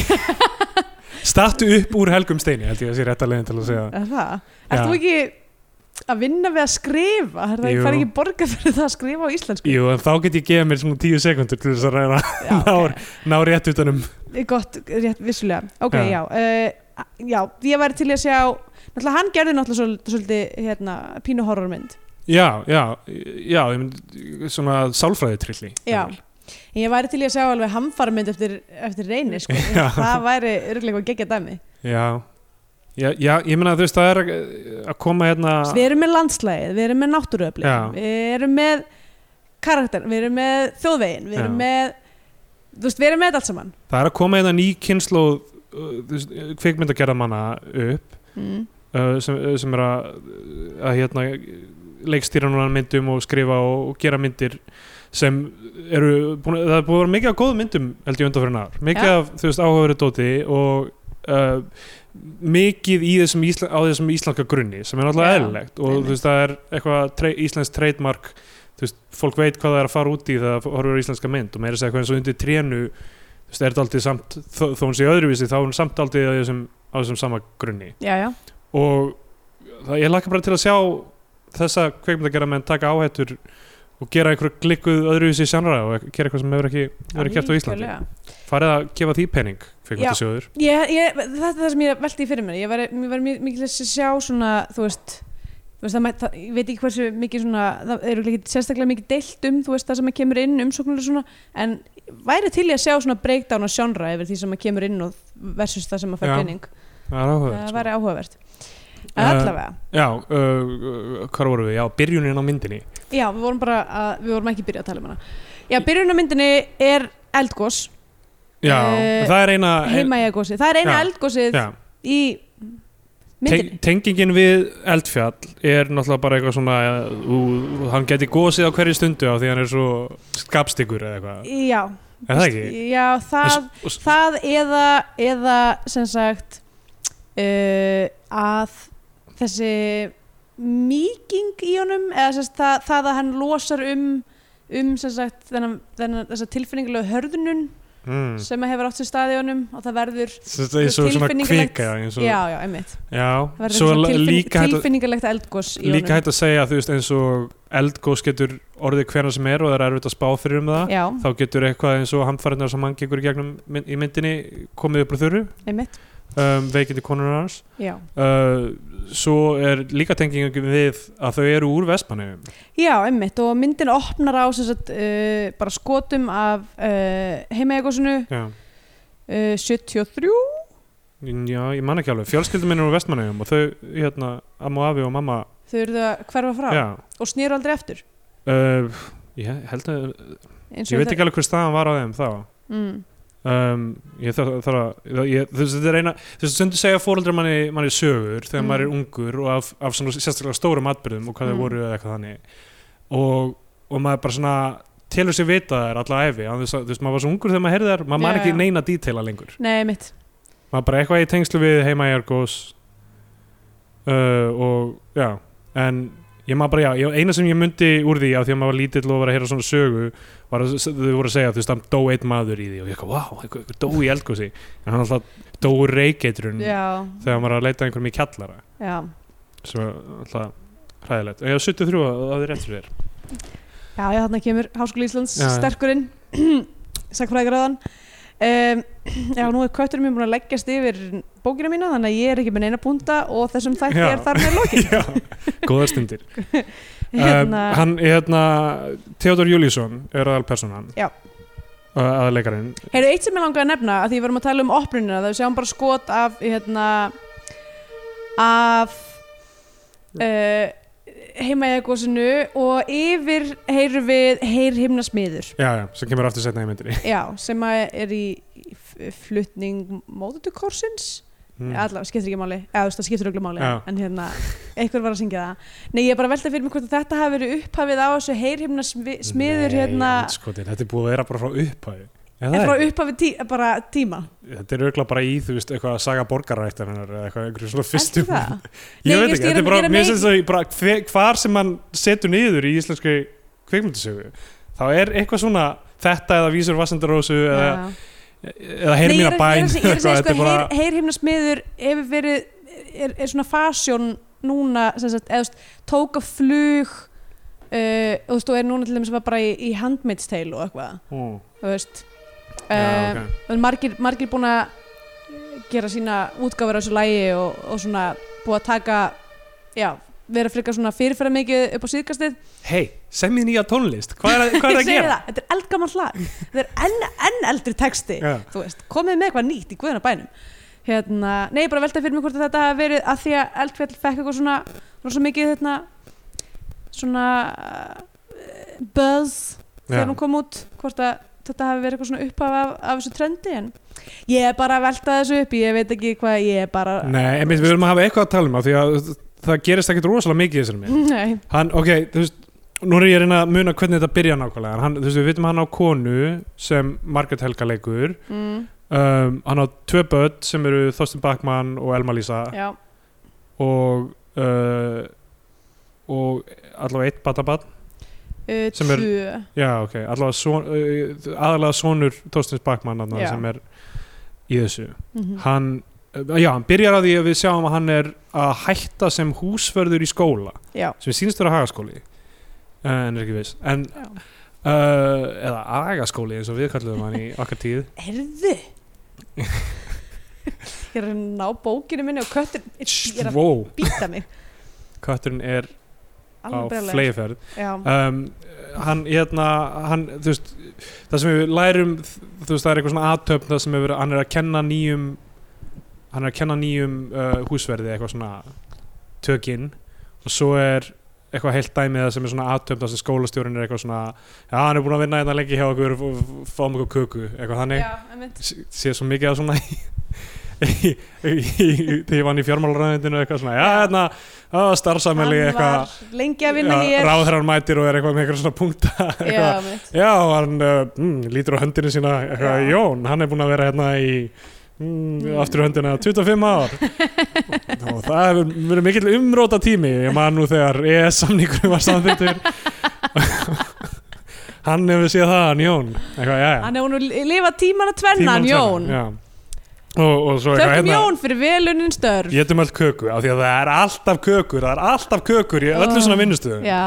startu upp úr helgum steini held ég að sé rétt að leiðin til að segja
Er það?
Já.
Ert þú ekki að vinna við að skrifa? Er það
Jú.
ekki fara ekki borgað fyrir það að skrifa á íslensku?
Jú, en þá get ég gefið mér svona tíu sekundur til þess að reyna að
Já, ok.
*laughs* ná rétt utanum
Eh, gott, rétt, vissulega ok,
Já.
já, uh, já, ég væri til í að sjá náttúrulega hann gerði náttúrulega svol- svolítið hérna, pínu horrormynd
Já, já, já, ég mynd svona sálfræðitrilli
já, en ég væri til í að sjá alveg hamfarmynd eftir, eftir reyni, sko
Já.
það væri örgulega eitthvað geggja dæmi
Já, já, já ég meina þú veist það er að- að koma hérna
við erum með landslægið, við erum með náttúruöfli
Já.
við erum með karakter við erum með þjóðvegin, við erum
Já.
með þú veist, við erum með þetta allt saman
það er að koma hérna ný uh, kynnslóð kvikmyndagerðamanna upp
mm.
uh, sem, uh, sem er að, að hérna, leikstýra núna myndum og skrifa og, og gera myndir sem eru búin, það er búin að vera mikið af góðum myndum held ég undanfyrir nár, mikið
Já.
af þú veist áhugaverið dóti og uh, mikið í þessum ísla, á þessum íslenska grunni sem er náttúrulega
Já,
eðlilegt og
einmitt.
þú veist það er eitthvað tre, íslensk trademark þú veist, fólk veit hvað það er að fara út í þegar það horfur á íslenska mynd og meira að segja eitthvað eins og undir trénu þú veist, er þetta aldrei samt þó, þó hún sé öðruvísi þá er hún samt aldrei á þessum, á þessum sama grunni
já, já,
og það, ég laka bara til að sjá þessa kveikmyndagera menn taka áhættur og gera einhver glikkuð öðruvísi sjanra og gera eitthvað sem hefur ekki verið gert á Íslandi
Algjörlega.
farið að gefa því pening kveikmyndasjóður
ég, ég, þetta er það sem ég veldi í fyrir mér ég var, mér var mjög mikil að sjá svona þú veist, þú veist það, mæ- það, ég veit ekki hversu mikið svona það eru ekki sérstaklega mikið deilt um þú veist það sem að kemur inn umsóknur og svona en væri til í að sjá svona breakdown á sjónra yfir því sem að kemur inn og versus það sem að fær
Já,
pening
það er áhugavert,
það
sko.
væri áhugavert
Eh,
en allavega,
já, uh, uh, hvað voru við, já, byrjunin á myndinni
já við vorum bara að, við vorum ekki byrjað að tala um hana já, byrjunarmyndinni er eldgós
já,
Eh,
það Ah, er eina ein,
heimaegósi, það er eina
Já,
eldgósið
já,
í myndinni
teng, tengingin við eldfjall er náttúrulega bara eitthvað svona uh, hann geti gósið á hverju stundu á því hann er svo skapstyggur eða eitthvað,
já,
er það ekki?
já, það
Og s-
það eða, eða sem sagt uh, að þessi mýking í honum eða sem sagt, það, það að hann losar um um sem sagt þennan, þennan, þessa tilfinningulega hörðunun
mm.
sem að hefur átt sér stað í honum og það verður
Svo þetta er svo svona
Tilfinningalegt-
kvika já, eins og,
já, já, einmitt
já.
það verður
Svo
svona tilfin,
líka hægt, að-
tilfinningalegt eldgos í
líka
honum
hægt að segja þú veist, eins og eldgós getur orðið hvena sem er og það er erfitt að spá fyrir um það
já,
þá getur eitthvað eins og hamfærinar sem hann gengur í gegnum mynd, í myndinni komið upp úr þurru
einmitt
um, veikindi konunar hans
já.
uh, svo er líka tengingin við að þau eru úr vestmannum
já, einmitt og myndin opnar á sem sagt, uh, bara skotum af uh, heimaegosinu
já.
uh, 73
já, ég man ekki alveg fjölskyldum minn er úr vestmannum og þau, hérna, amma og afi og mamma
þau eru að hverfa frá
já,
og snýru aldrei eftir
uh, ég held að
eins
ég veit ekki alveg hver staðan var á þeim þá
mm,
um, ég þarf þar að ég, þú veist þetta er eina þú veist stundu segja fóreldrar manni, manni sögur þegar
Mm.
maður er ungur og af, af svona sérstaklega stórum atbyrðum og
Mm.
hvað þau voru eða eitthvað þannig og, og maður bara svona telur sér vita þær alla æfi án þess að- þú veist, maður var svo ungur þegar maður heyrði þær maður
Já,
man ekki
já.
neina dítela lengur
Nei, mitt
maður bara eitthvað í tengslu við heima ég er góðs uh, og já en ég maður bara, já, ég, eina sem ég myndi úr því af því að maður var lítill og var að heyra svona sögu var að þau voru að segja, þú veist, hann dó einn maður í því og ég eitthvað, wow, eitthvað, eitthvað dó í eldgósi en hann alltaf dó úr reykeitrun
Já,
þegar maður er að leita að einhverjum í kjallara
já,
sem er alltaf hræðilegt og ég 73 að það er rétt fyrir
*laughs*
þér
já, já þarna kemur Háskóli Íslands
Já, já.
sterkurinn *clears throat* Sækfræðgraðan um, *clears throat* Já, nú er kötturinn mér búin að leggjast yfir bókina mína þannig að ég er ekki með neina búnda og þessum þætti
Já.
er þar með
*laughs*
lokið
Já, góða stundir
*laughs* hérna,
uh, Hann, hérna, Theodor Júlísson er aðalpersonan
Já.
Uh, aðalleikarinn
Heyrðu, eitt sem ég langaði að nefna að því við erum að tala um opnunina þá sjáum bara skot af hérna, af uh, heimaegosinu og yfir heyrum við heyrhimnasmiður
Já, já, sem kemur aftur setna í myndinni
já, sem að er í, í f- flutning mótutukorsins
Mm.
allavega, skiptir ekki máli, eða þú veist það skiptir öllu máli
Já.
en hérna, einhver var að syngja það nei, ég er bara að velta fyrir mig hvort að þetta hafi verið upphafið á þessu heyrhimnasmiður
Nei, sko
hérna,
andskotin, Þetta er búið að vera bara frá upphæði
en frá upphafið tí, bara tíma
Þetta er auðvitað bara í, þú veist, eitthvað að saga borgarættar hennar eða eitthvað, einhverjum svona
Ertu
fyrstum
það? Nei,
Ég
ég
veit
veist, ég er
ekki,
að-
þetta er bara,
ég er að
mér
meina-
finnst það bara hve- hvar sem mann setur niður í íslenski kvikmyndasögu þá er eitthvað svona þetta eða vísur vassendarósu eða,
Já.
eða heyri
Nei, ég er
mína
að-
bæn
Ég er að segja, ég er að segja
*laughs*
sko,
þetta er bara,
heyr, heyrhimnasmiður hefur verið, er, er svona fasjón núna, sem sagt, eða þú veist, tók af flug uh, og þú veist, og er núna til þeim sem var bara í, í Handmaid's Tale og eitthvað,
mm,
þú veist
já,
uh,
ok.
en margir, margir búin að gera sína útgáfur á þessu lægi og, og svona búið að taka já, vera frekar svona fyrirferða mikið upp á síðkastið
hei, semjið nýja tónlist hvað er, hvað er að
Segðu
gera?
það, þetta er eldgammal lag þetta er enn, enn eldri texti
Já.
þú veist, komið með eitthvað nýtt í guðuna bænum hérna, nei, ég bara velta fyrir mig hvort að þetta hafi verið að því að eldfjall fekk eitthvað svona rosa mikið hérna, svona uh, buzz
Já.
þegar hún kom út hvort að þetta hafi verið eitthvað svona upphaf af, af þessu trendi en ég er bara að velta þessu upp ég veit ekki hvað ég er bara
Nei, einmitt, við viljum að hafa eitthvað að tala um af því að það gerist ekkert rosalega mikið í þessari mynd
*laughs* nei,
hann, ok, þú veist nú er ég að reyna að muna hvernig þetta byrja nákvæmlega en hann, þú veist, við vitum að hann á konu sem Margaret Helga leikur
mm,
um, hann á tvö börn sem eru Þorsten Bakman og Elma Lísa
já,
og uh, og allavega eitt batabann
uh,
Sem er-
tvö
já, ok, allavega son, uh, aðalega sonur Þorsten Bakman anna,
Já.
sem er í þessu
Mhm.
hann, uh, já, hann byrjar að því að við sjáum að hann er að hætta sem húsförður í skóla
já,
sem sínst vera hagaskóli Eh, en er ekki viss en
já.
uh, eða agaskóli eins og við kallum hann
*laughs*
í okkar tíð
Herðu *laughs* Ég er að ná bókinu minni og köttur Ég er að
wow,
býta mig
kötturinn er á
Alveg brjálæður.
fleiðferð
Já,
um, hann, hérna, hann þú veist, það sem við lærum þú veist, það er eitthvað svona aðtöfn það sem er, verið- hann er að kenna nýjum hann er að kenna nýjum uh, húsverði eitthvað svona tökinn og svo er eitthvað heilt dæmið það sem er svona aðtöfn það sem skólastjórinn er eitthvað svona já, hann er búin að vinna þetta lengi hjá okkur og f- f- fáum okkur köku, eitthvað þannig
já, einmitt
s- sé svo mikið að svona *laughs* í- í- í- þegar ég vann í fjármálaræðindinu eitthvað svona, já, hérna starfsamæli
Hann
eitthvað,
var lengi að vinna hér
ráðherran mætir og er eitthvað með eitthvað svona punkta
Já,
*laughs* eitthvað,
einmitt
já, og hann uh, mm, lítur á höndinu sína, eitthvað,
Já.
Jón hann er búin að vera hérna í mm,
Mm.
aftur í höndina 25
*laughs*
ár og það hefur verið mikill umróta tími, ég man nú þegar ES-samningur var
*laughs*
samþýttur hann hefur séð það, hann Jón eitthvað, já, já
Hann hefur nú lifað tímana tvennan,
Tímann
Jón
tvennan, já. og, og svo eitthvað
Þökkum
hérna,
Jón fyrir velunin störf
ég getum öll köku af því að það er alltaf kökur það er alltaf kökur í öllu
Oh.
svona vinnustuðum
Já,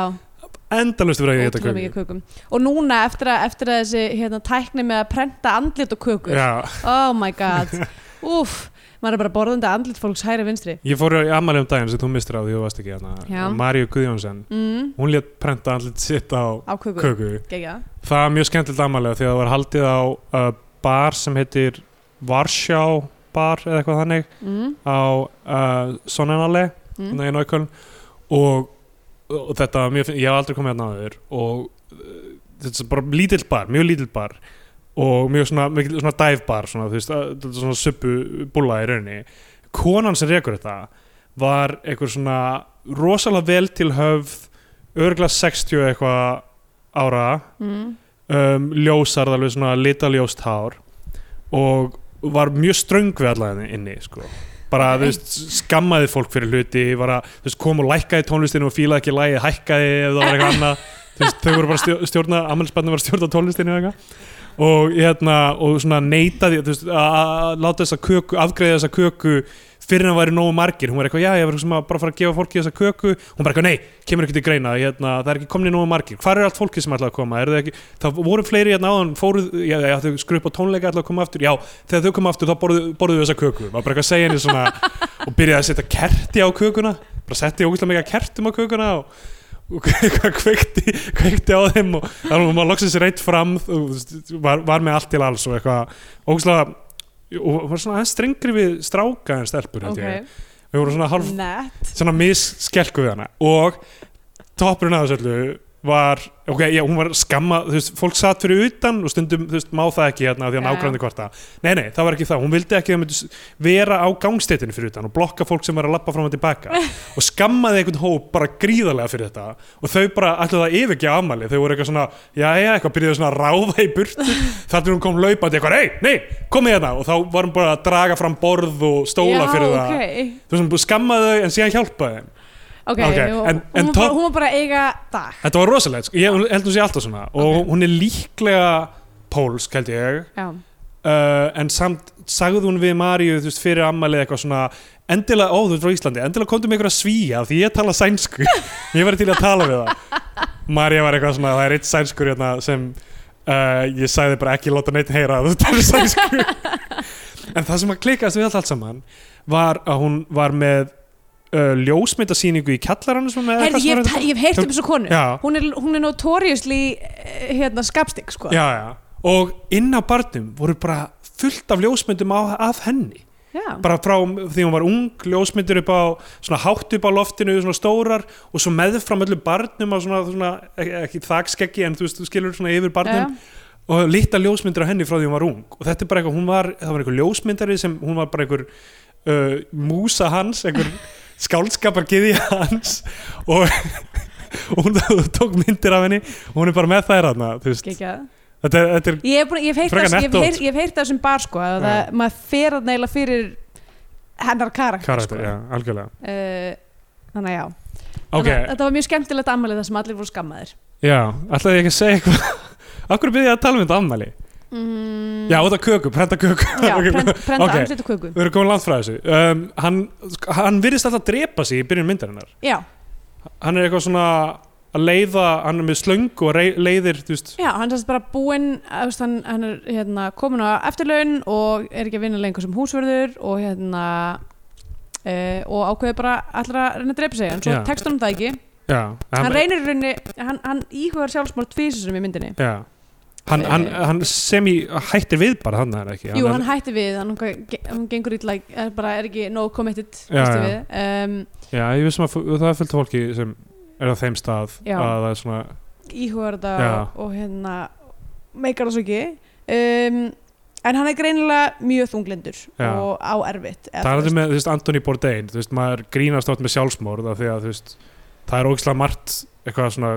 endalust fyrir að ég geta
ótrúlega mikið
köku
kökum Og núna eftir að, eftir að þessi hérna, tækni með að prenta andlit og kökur
já,
Oh my
*laughs*
god Úff, maður er bara borðandi andlit fólks hæri vinstri
ég fór í ammali um daginn sem þú mistir á því þú varst ekki
Já.
hana Maríu Guðjónsson
mm,
hún létt prenta allir sitt á
Á köku, köku.
köku
Gegja.
það var mjög skemmtilegt ammali því að það var haldið á uh, bar sem heitir Varsjá bar eða eitthvað þannig
Mm,
á uh, Sonnenalli
Mm.
mm. í Nákvöln og, og þetta, var mjög, finn- ég hef aldrei komið hérna áður og uh, þetta er bara lítill bar, mjög lítill bar og mjög svona, mjög, svona dive bar svona, þú veist, að- þetta er svona suppu búla í rauninni konan sem rekur þetta var einhver svona rosalega vel til höfð örgla 60 eitthvað ára
mm,
eh, um, ljósarð alveg svona litaljóst hár og var mjög ströng við alla henni inni sko. bara þú veist, skammaði fólk fyrir hluti var að þú veist, kom og lækkaði tónlistinu og fílaði ekki lægi, hækkaði ef það var eitthvað annað Þú veist, þau voru bara stjó- stjórna, ammælisbarni var að stjórna tónlistinu eða eitthvað og hérna, og svona neitaði þú veist, að að láta þessa köku, afgreiða þessa köku fyrir hann væri nógu margir hún var eitthvað, já, ég var sem að bara fara að gefa fólki þessa köku hún bara eitthvað, nei, kemur ekki til greina hérna, það er ekki komni nógu margir, hvar er allt fólki sem ætlaði að koma er það ekki, það voru fleiri hérna áðan fóruð, já, já, þau skru upp á tónleika ætlaði að koma aftur, já, þegar þau koma aftur þá borðu- borðuðu þessa köku, maður bara eitthvað að segja henni svona og byrjaði að setja kerti á kökuna bara setti ógæslega mikið kertum á kökuna og og *laughs* eitthvað kveikti, kveikti á þeim og þannig að maður loksins reitt fram og þú veist, var, var með allt til alls og eitthvað ógæslega og var svona aðeins strengri við stráka en stelpur held ég.
ok,
við vorum svona halv
nett
svona misskelku við hana og toppurinn að þessu öllu var, ok, já, hún var skamma þú veist, fólk satt fyrir utan og stundum þú veist, má það ekki hérna af því að
Já, já.
nákvæmdi kvarta nei, nei, það var ekki það, hún vildi ekki að það myndi s- vera á gangsteitinu fyrir utan og blokka fólk sem var að lappa fram
*laughs*
og tilbaka og skammaði einhvern hóp bara gríðarlega fyrir þetta og þau bara ætlaði að yfirgefa afmæli þau voru eitthvað svona, já, já, eitthvað byrjuðu svona að ráða í burtu
*laughs*
þar til hún kom laupandi eitthvað, nei, nei, komið hérna og þá var hún bara að draga fram borð og stóla
já,
fyrir það
okay.
þú veist, hún búið að skamma þau en síðan hjálpa þeim
ok,
Ok,
og-
en- en
hún, var bara,
top-
hún var bara að eiga dag
þetta var rosalegt, sko. ég held hún sé alltaf svona og hún er líklega pólsk held ég
já,
uh, en samt sagði hún við Maríu þú veist, fyrir ammælið eitthvað svona endilega, ó þú ert frá Íslandi, endilega komdu með ykkur að svíja af því ég tala sænsku *laughs* ég var til að tala við það María var eitthvað svona, það er eitt sænskur hérna, sem uh, ég sagði bara ekki láta neitt heyra að þú talar sænsku *laughs* en það sem að klikast við allt, allt saman var að hún var með uh, ljósmyndasýningu í kjallarann
herri, ég, hef- ég hef heyrt um þessu konu
Já.
hún er, hún er notoriously eh, hérna, skapstig, sko
já, já. og inn á barnum voru bara fullt af ljósmyndum af, af henni
Já.
bara frá því hún var ung ljósmyndir upp á, svona hátt upp á loftinu svona stórar og svo meðfram öllu barnum á svona, svona ekki, ekki þakskeggi en þú veist, þú skilur svona yfir barnum og lítta ljósmyndir á henni frá því hún var ung og þetta er bara eitthvað, hún var, það var einhver ljósmyndari sem hún var bara einhver uh, músa hans,
*laughs*
einhver skáldskapargiði hans og, *laughs* og hún tók myndir af henni og hún er bara með þær hana þú veist,
Gekkjað.
þetta er, þetta er
Ég hef, búin, ég hef heyrt
Frekar
þess, ég hef
nett
heyrt, ég hef heyrt þessum bar sko að
Já.
það, maður fer að neila fyrir hennar karakter,
karakter,
sko.
já, algjörlega
Uh, Þannig að já
ok,
Þannig að Þetta var mjög skemmtilegt ammælið það sem allir voru skammaðir
já, ætlaði ég ekki að segja eitthvað *laughs* okkur byrði ég að tala um þetta ammæli
mm,
já, þetta köku, prenta köku
já
*laughs* Ok,
prent, prenta
ok.
okay. andlit og köku
við erum komin langt frá þessu um, hann, hann virðist alltaf að drepa sig í byrjun myndarinnar
Já,
hann er eitthvað svona að leiða hann er með slöngu og rei- leiðir þú veist,
já hann er bara búinn þú veist, hann, hann er hérna, komin á eftirlaun og er ekki að vinna lengur sem húsverður og hérna uh, og ákveði bara allir að reyna að drepa sig en svo
Já.
tekst hann það ekki
já,
hann reynir í rauninni, hann, hann íhugar sjálfsmór tvísisum í myndinni
já. Hann, hann, hann sem í hættir við bara hann er það ekki
Eh. Jú,
er-
hann hætti við, hann, hann gengur ítla er bara er ekki nóg committed
Já,
hætti
já.
við. Um,
já, ég vissum að f- það er fullt af fólki sem er á þeim stað
Já.
að það er svona
íhugar þetta
Já.
og, og hérna meikar það svo ekki um, en hann er greinilega mjög þunglindur
Já.
og á erfitt eða
Það er
þú
þetta með, þú veist, Anthony Bourdain, þú veist, maður grínast átt með sjálfsmórð af því að, þú veist, það er ógislega margt eitthvað svona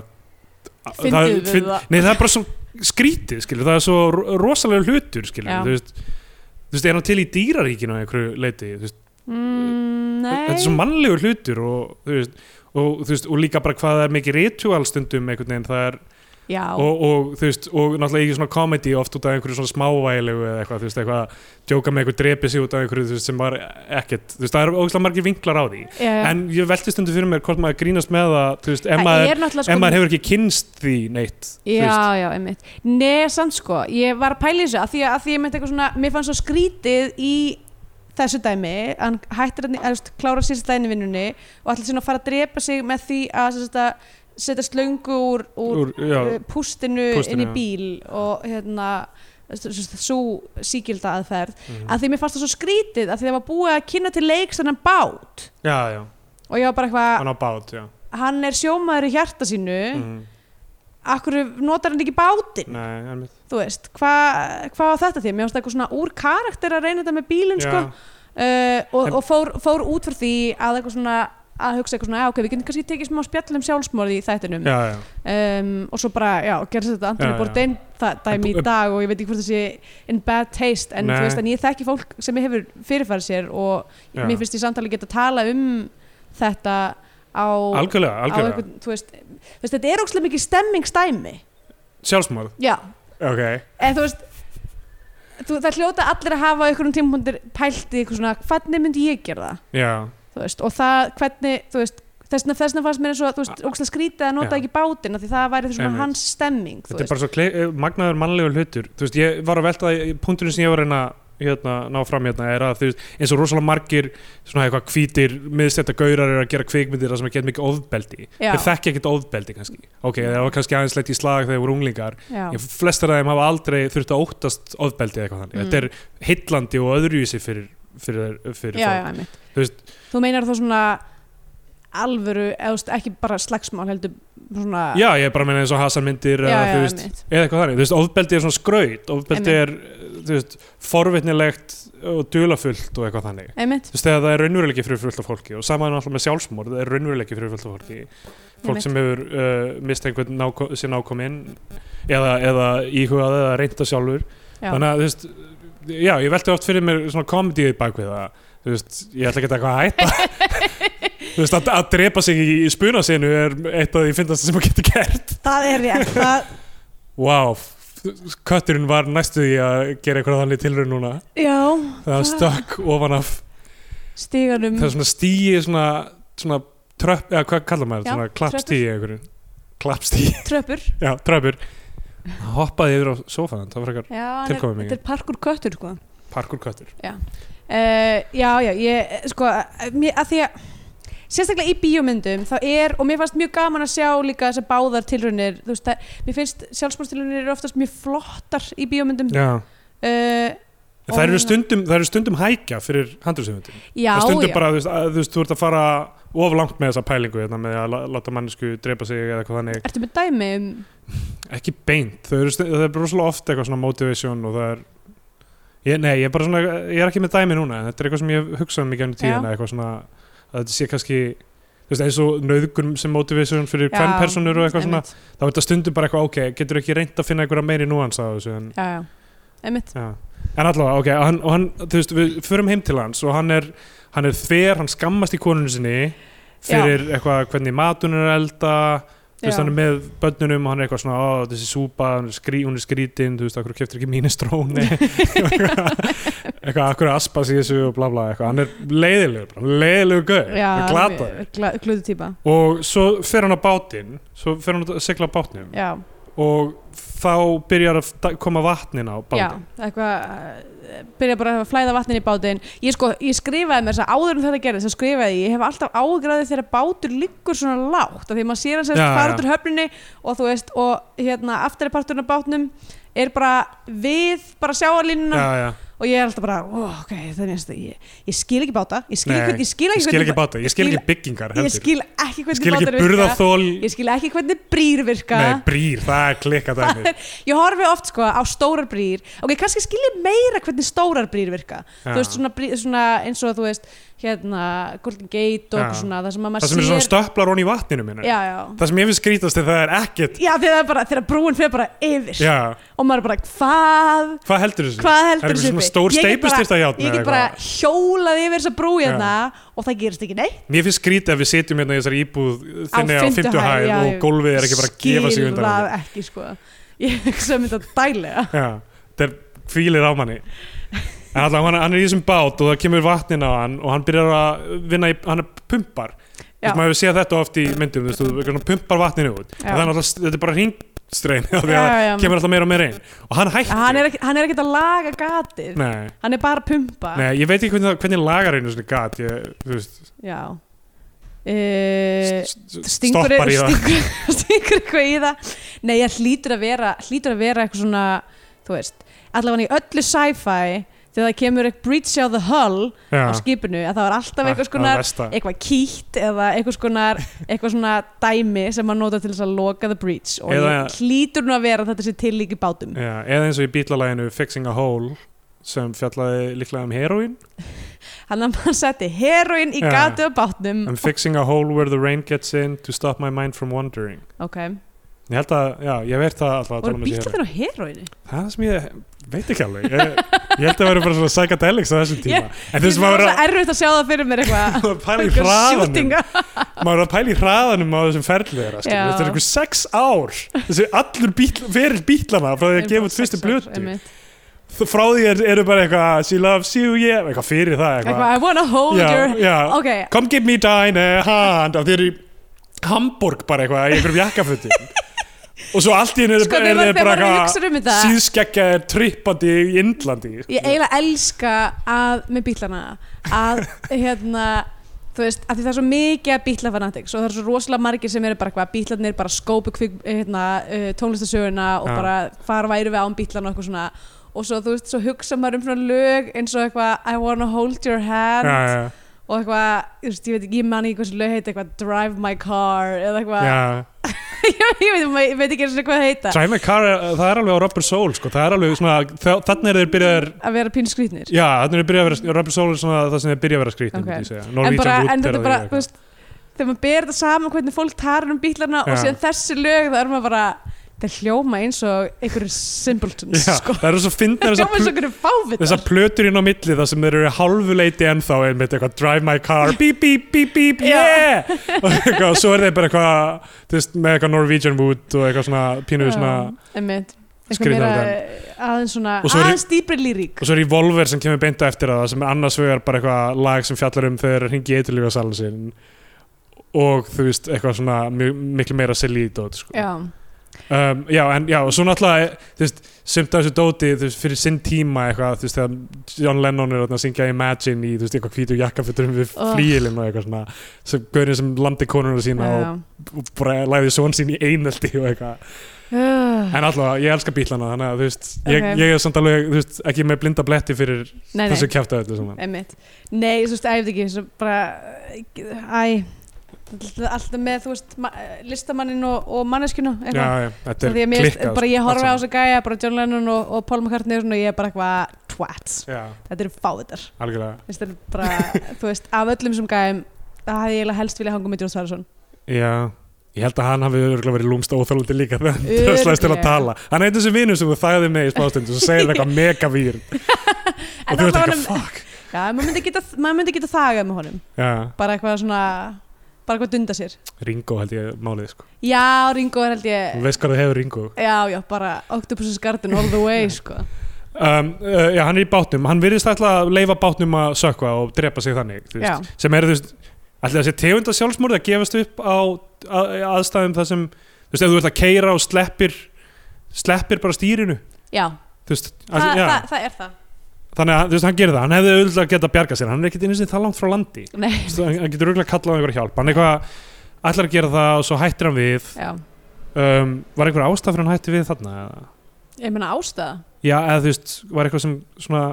Fyndið
það-
við
finn-
það.
Nei, það er bara svo skrítið, skilur, það er svo ro- rosalega hlutur, skilur,
Já.
þú veist Þú veist, er hann til í dýraríkinu á einhverju leiti, þú veist,
mm,
þetta er svo
Nei,
mannlegur hlutur og, þú veist, og, þú veist, og líka bara hvað það er mikið ritual stundum einhvern veginn, það er,
já
og, og, þú veist, og náttúrulega ekki svona komedi oft út af einhverju svona smávælegu eða eitthvað, þú veist, eitthvað, djóka með einhver drepi sig út af einhverju, þú veist, sem var ekkert, þú veist, það er ógislega margir vinklar á því
já, já.
en ég velti stundu fyrir mér hvort maður grínast með það þú veist, ef
það
maður,
er náttúrulega sko-
ef maður hefur ekki kynst því neitt þú veist.
Já, já, einmitt. Nei, samt sko, ég var að pæla í þessu að því að, að því ég myndi eitthvað svona, mér fannst svo skrítið í þessu dæmi, hann hættir að, að klára sér stæðinni vinnunni og allir sinna að fara að drepa sig með því að, sem sagt, að setja slöngu úr, úr,
Úr, já,
úr pústinu,
Pústinu,
inn í
já.
bíl og hérna svo síkilda aðferð
mhm.
að því mér fannst það svo skrítið að því það var búið að kynna til leiks þennan bát
já, já,
og ég var bara eitthvað,
hann á bát já.
hann er sjómaður í hjarta sínu
Mm.
akkur notar hann ekki bátinn
Nei, einmitt.
þú veist, hvað hva var þetta þér? Mér finnst eitthvað svona úr karakter að reyna þetta með bílinn, sko
Já.
uh, og,
En-
og fór, fór út fyrir því að eitthvað svona að hugsa eitthvað svona, já ok, við getum kannski tekið smá spjall um sjálfsmorði í þættinum
já, já.
um, og svo bara, já, gerðist þetta Anthony
Já, já.
Bourdain það dæmi
En-
í dag og ég veit ekki hvort það sé in bad taste, en
Nei.
þú veist en ég þekki fólk sem hefur fyrirfæri sér og
Já.
mér finnst ég samtali geta að tala um þetta á,
algjörlega,
á
algjörlega
einhvern, þú veist, þú veist þetta er ókslega mikið stemmingsdæmi
sjálfsmorð,
já,
ok
en þú veist þú, það hljóta allir að hafa á einhverjum tímpúndir pælt í eitthvað svona, hvernig myndi ég gera það
já,
þú veist, og það hvernig, þú veist þessna, þessna fannst mér eins og, þú veist, ógstlega skrítið að nota
Já.
ekki bátin, af því það væri þessum
Einmitt.
hans stemming, þú
þetta er
veist
bara svo klei, eh, magnaður mannlegur hlutur þú veist, ég var að velta það, í- punkturinn sem ég var að reyna að, hérna, ná fram hérna er að þú veist, eins og rosalega margir svona eitthvað hvítir miðstætta gaurar eru að gera kvikmyndir þar sem er gett mikið ofbeldi
Já.
þeir þekki ekkert ofbeldi kannski ok, þeir hafa kannski aðeins leitt í slag þegar þeir voru unglingar
já,
Ég, flestar af þeim hafa aldrei þurft að óttast ofbeldi eða eitthvað þannig,
Mm.
þetta er heillandi og öðruvísi fyrir, fyrir, fyrir
já, já,
fólk.
einmitt
Þú veist-
þú meinar þá svona alvöru, eða þú veist, ekki bara slagsmál heldur svona
já, ég er bara að meina eins og hasanmyndir
já,
eða,
já,
þú veist,
einmitt
eða eitthvað þannig, þú veist, ofbeldi er svona skraut ofbeldi er, þú veist, forvitnilegt og dulafullt og eitthvað þannig
einmitt,
þú veist, þegar það er raunveruleiki fyrir fullt af fólki og saman alltaf með sjálfsmorð er raunveruleiki fyrir fullt af fólki fólk
Einmitt.
sem hefur uh, mist einhvern náko sér nákominn eða, eða íhugað eða reynda sjálfur
já,
þannig að, þú veist, já, ég velti oft fyrir mér svona komediði bak við það þú veist, ég ætla ekki að eitthvað að hætta
*laughs*
þú veist, að, að drepa sig í, í spunasinu er eitt af því fyndast sem að geta gert
það er rétt það,
Vá, wow, kötturinn var næstu því að gera eitthvað þannig tilraun núna
*laughs* já,
það hann stökk ofan af
stíganum
það er svona stíi svona, svona tröpp, eða hvað kallar maður,
Já,
svona klappstíi einhverju, klappstíi, *laughs*
tröpur
já, tröppur hoppaði yfir á sófan, það var eitthvað
já, hann er-
Tilkomumikið.
þetta er parkur köttur, sko
parkur köttur
Uh, já, já, ég, sko, mér, að því að sérstaklega í bíómyndum þá er, og mér fannst mjög gaman að sjá líka þessar báðar tilraunir, þú veist það, mér finnst sjálfsmórstilraunir eru oftast mjög flottar í bíómyndum.
já,
Uh,
En það eru
Ónæ-
stundum það eru stundum hækja fyrir handrúsefundum
já,
það stundum
já,
bara, þú veist, að, þú veist, þú ert að fara of langt með þessa pælingu, hérna, með að la- láta mannesku drepa sig eða eitthvað þannig
ertu með dæmi um,
ekki beint þau eru, stu- það er rosalega oft eitthvað svona motivation og það er ég, nei, ég er bara svona, ég er ekki með dæmi núna en þetta er eitthvað sem ég hef hugsað um í gennum tíðina eitthvað svona, að þetta sé kannski þú veist, eins og nöðgun sem motivation fyrir
Já,
hvern personur og eitthvað svona
einmitt,
þá er þetta stundum bara eitthvað, ok, getur ekki reynd að finna einhverja meiri núans á þessu en,
já, já, einmitt,
já. en allavega, ok, og hann, og hann þú veist, við förum heim til hans og hann er hann er þver, hann skammast í konunni sinni fyrir eitthvað hvernig matun er að elda þú veist,
Já.
hann er með börnunum og hann er eitthvað svona, ó, þessi súpa, hún er, skrí, hún er skrítin, þú veist, okkur keftur ekki *laughs* mínistróni eitthvað, okkur aspas í þessu og bla bla, eitthvað, hann er leiðilegur, bara, leiðilegur gauð,
já,
hann er glataður
gla, glöðu típa,
og svo fer hann á bátinn, svo fer hann að segla á bátnum
já,
og þá byrjar að da- koma vatnin á
já,
bátinn.
eitthvað, uh, byrja bara að flæða vatnin í bátinn, ég sko, ég skrifaði mér þess að áður en þetta gerðist, þá skrifaði ég, ég hef alltaf ágræðið þegar bátur liggur svona lágt, af því maður sér hann sérst
Já,
fara
já.
út úr höfninni og þú veist, og hérna, aftari parturinn af bátnum er bara við, bara sjáarlínuna
Já, já,
og ég er alltaf bara, ó, ok, þannig að ég, ég skil ekki báta, ég skil
Nei,
ekki, ég skil
ég
ekki,
skil ekki báta, ég skil
skil-
ekki byggingar
ég
heldur,
skil ekki
Ég
hvernig
skil ekki
bátar virka,
burðarþól,
ég skil ekki hvernig brýr virka,
nei, brýr, það er
*laughs*
klikkað dæmi.
ég horfi oft sko á stórar brýr ok, kannski skil ég meira hvernig stórar brýr virka
Já.
þú veist, svona, brýr, svona eins og þú veist hérna, Golden Gate og
Já.
eitthvað svona það sem að maður
það sem
sér
er svona stöplar honni í hérna. vatninu minna
já, já,
það sem ég finnst skrítast er það er ekkert
já þegar, það er bara, þegar brúin fyrir bara yfir
já,
og maður er bara, hvað
hvað heldur þessu?
hvað
Það er
heldur
eitthvað svona stór steipustyrta hjátna
ég get bara hjólað yfir þessa brú hérna og það gerist ekki neitt
mér finnst skrítið að við sitjum hérna í þessari íbúð þinni á
fimmtu
50
hæð,
hæð
já,
og
ég
gólfið er ekki bara að gefa sig
skil
undan henni.
það ekki sko ég hugsa um þetta dælega
já, það er fílir á manni en allavega hann, hann er í þessum bát og það kemur vatnin á hann og hann byrjar að vinna í, hann er pumpar
Já.
Þú veist, maður hefur séð þetta oft í myndum þú veist, þú eitthvað svona pumpar vatninu út
Já.
þannig að þetta er bara hringstreim því að
Já,
það
já.
kemur alltaf meira og meira inn og hann hættir
hann er ekki- hann er ekkert að laga gatir
Nei.
hann er bara að pumpa
Nei, ég veit ekki hvernig, það- hvernig lagar einu svona gat ég, þú veist,
Já uh,
st- st-
Stingur,
stoppar í það
stingur, *laughs* stingur eitthvað í það Nei, ég hlýtur að vera hlýtur að vera eitthvað svona þú veist, allavega í öllu sci-fi þegar það kemur eitthvað breach á the hull
*laughs* Já.
á skipinu, að það var alltaf eitthvað
Það
skonar
versta.
eitthvað kýtt eða eitthvað skonar eitthvað svona dæmi sem maður nota til þess að loka the breach og
Eða-
ég hlýtur nú að vera að þetta sé til líki bátum
Já, eða eins og í bítlalæginu Fixing a Hole sem fjallaði líklega um heroín
hann að mann setti heroin í
Já.
gatu á bátnum
I'm Um fixing a hole where the rain gets in to stop my mind from wandering
ok,
ég held að, já, ég veit það alltaf að tala
voru
um þessi heroin.
bílarnir á heroinu
það er það sem ég veit ekki alveg ég, ég held að það væri bara svona psychedelics á þessum
*laughs*
tíma
Ég-
en
það
þessum
er
maður
svo erfitt að sjá það fyrir mér eitthvað
að pæla í
Einhver
hraðanum
shooting.
maður er að pæla í hraðanum á þessum ferlu þeirra skilur.
Já.
þetta er einhver sex ár þessi allur bítl, feril bítlana frá því að gefa út
Sex
fyrstu
ár,
blötu
einmitt.
Þ- frá því er, eru bara eitthvað she loves you yeah eitthvað fyrir það eitthvað,
eitthvað, I wanna hold your
já, já.
ok,
come give me thine hand og þeir eru í Hamburg bara eitthvað í einhverjum jakkafutti og svo allt í henni er,
sko
er,
þegar
er
maður- þegar
bara
maður hugsa um þetta
síðskeggja trippandi í Indlandi
ég eiginlega elska að, með bílana að hérna þú veist, að því það er svo mikið að bíla fanatics og það er svo rosalega margir sem eru bara eitthvað bílarnir bara skópu kvik, hérna, uh, tónlistasöguna og
Já.
bara fara væri við án bílana og eitthvað svona og svo þú veist, svo hugsa maður um svona lög eins og eitthvað I wanna hold your hand
já, já,
og eitthvað, þú veist, ég veit ekki, ég man ekki hversu lög heita eitthvað Drive my car eða eitthvað,
já.
*laughs* ég, veit, ég veit ekki einu sinni hvað það heita
Drive My Car, er- það er alveg á Rubber Soul sko. það er alveg svona, þa- þannig er þeir byrjaðir
að vera pínskrýtnir
Já, þannig er byrjað að vera, Rubber Soul er svona það sem er byrjað að vera skrítin,
Ok.
okay. segja.
en,
Norwegian
bara,
Wood
en
er
þetta
að
bara,
vera
þú veist þegar maður ber þetta saman hvernig fólk tarar um bílarna
Já.
og síðan þessi lög þá er maður bara þeir hljóma eins og einhverju simpletons *laughs*
Já, *laughs*
sko.
það eru svo fyndnar
þeir
þessar
hljóma eins og
pl-
einhverju fávitar
þessar plötur inn á milli þar sem þeir eru halvuleiti ennþá einmitt eitthvað drive my car, beep beep beep beep,
Já.
yeah *laughs* og eitthvað, og svo er þeir bara eitthvað þú veist, með eitthvað Norwegian Wood og eitthvað svona pínu svona
einmitt eitthvað
Skrýtnar
meira
en-
eh, aðeins svona
Og svo er-
aðeins dýpri lírik
og svo er Revolver sem kemur beinta eftir að það sem er annars vegar bara eitthvað lag sem fjallar um þegar hringi eiturlífa salin sinn og þú veist eitthvað svona mjög, miklu meira silly dót sko.
já,
um, já, en já, og svo náttúrulega eh, þú veist, sumt af þessu dóti þú veist, fyrir sinn tíma eitthvað, þú veist, þegar John Lennon er þarna að syngja Imagine í, þú veist, eitthvað hvítu jakkafuturum við
Oh.
oh. flíilinn og eitthvað svona sem gaurinn sem landi konuna sína
já.
og, og bara læði svon sín í einelti og eitthvað,
Uh,
en allavega, ég elska bílana þannig að, þú veist, ég,
Ok.
ég er samt alveg þú veist, ekki með blinda bletti fyrir
nei, nei,
þessu kjæfta þetta svona
einmitt nei, þú veist, æfði ekki svo bara, æ alltaf með, þú veist, ma- listamannin og, og manneskjuna
já, já, þetta
Af því
er
að mér,
klikkað
bara ég horfi á
allt
þessu gæja, bara John Lennon og, og Paul McCartney og svona, ég er bara eitthvað twats,
saman. sko. já,
þetta eru fáðitar
algjörlega
þetta er
*laughs*
bara, þú veist, af öllum sem gæjum það hefði ég eiginlega helst vilja hanga með Jóns Svæðarsson
Já, ég held að hann hafi örgulega verið lúmst óþálandi líka þegar hann dröslaðist til að
Örugglega.
tala Hann eitthvað sem vinur sem þú þæði með í smástundu og
*laughs*
segir eitthvað mega vír og
en
þú veit
allavega
eitthvað
honum,
fuck
já, maður myndi geta maður myndi geta þagað með honum,
Já,
bara eitthvað svona bara eitthvað dunda sér,
Ringo held ég málið sko
já, Ringo er held
Þú
ég
veist hvað það hefur Ringo
já, já, bara Octopus's Garden all the way, sko
um, uh, Já, hann er í bátnum, hann virðist ætla að leifa bátnum að sökva og drepa sig þannig þú
já,
veist, sem eru þú veist ætli það sé tegunda sjálfsmórið að gefast upp á að, aðstæðum það sem þú veist, ef þú ert að keira og sleppir sleppir bara stýrinu
já,
þú veist,
Þa,
ætli- já.
það, það er það
þannig að þú veist, hann gerir það, hann hefði auðvitað geta að bjarga sér hann er ekkert einu sinni það langt frá landi Þú
nei,
veist, hann hann getur auðvitað kallað á einhverja hjálp hann eitthvað ætlar að gera það og svo hættir hann við
já,
um, var einhver ástæð fyrir hann hætti við þarna eða?
ég meina ástæða
já, eða þú veist, var eitthvað sem svona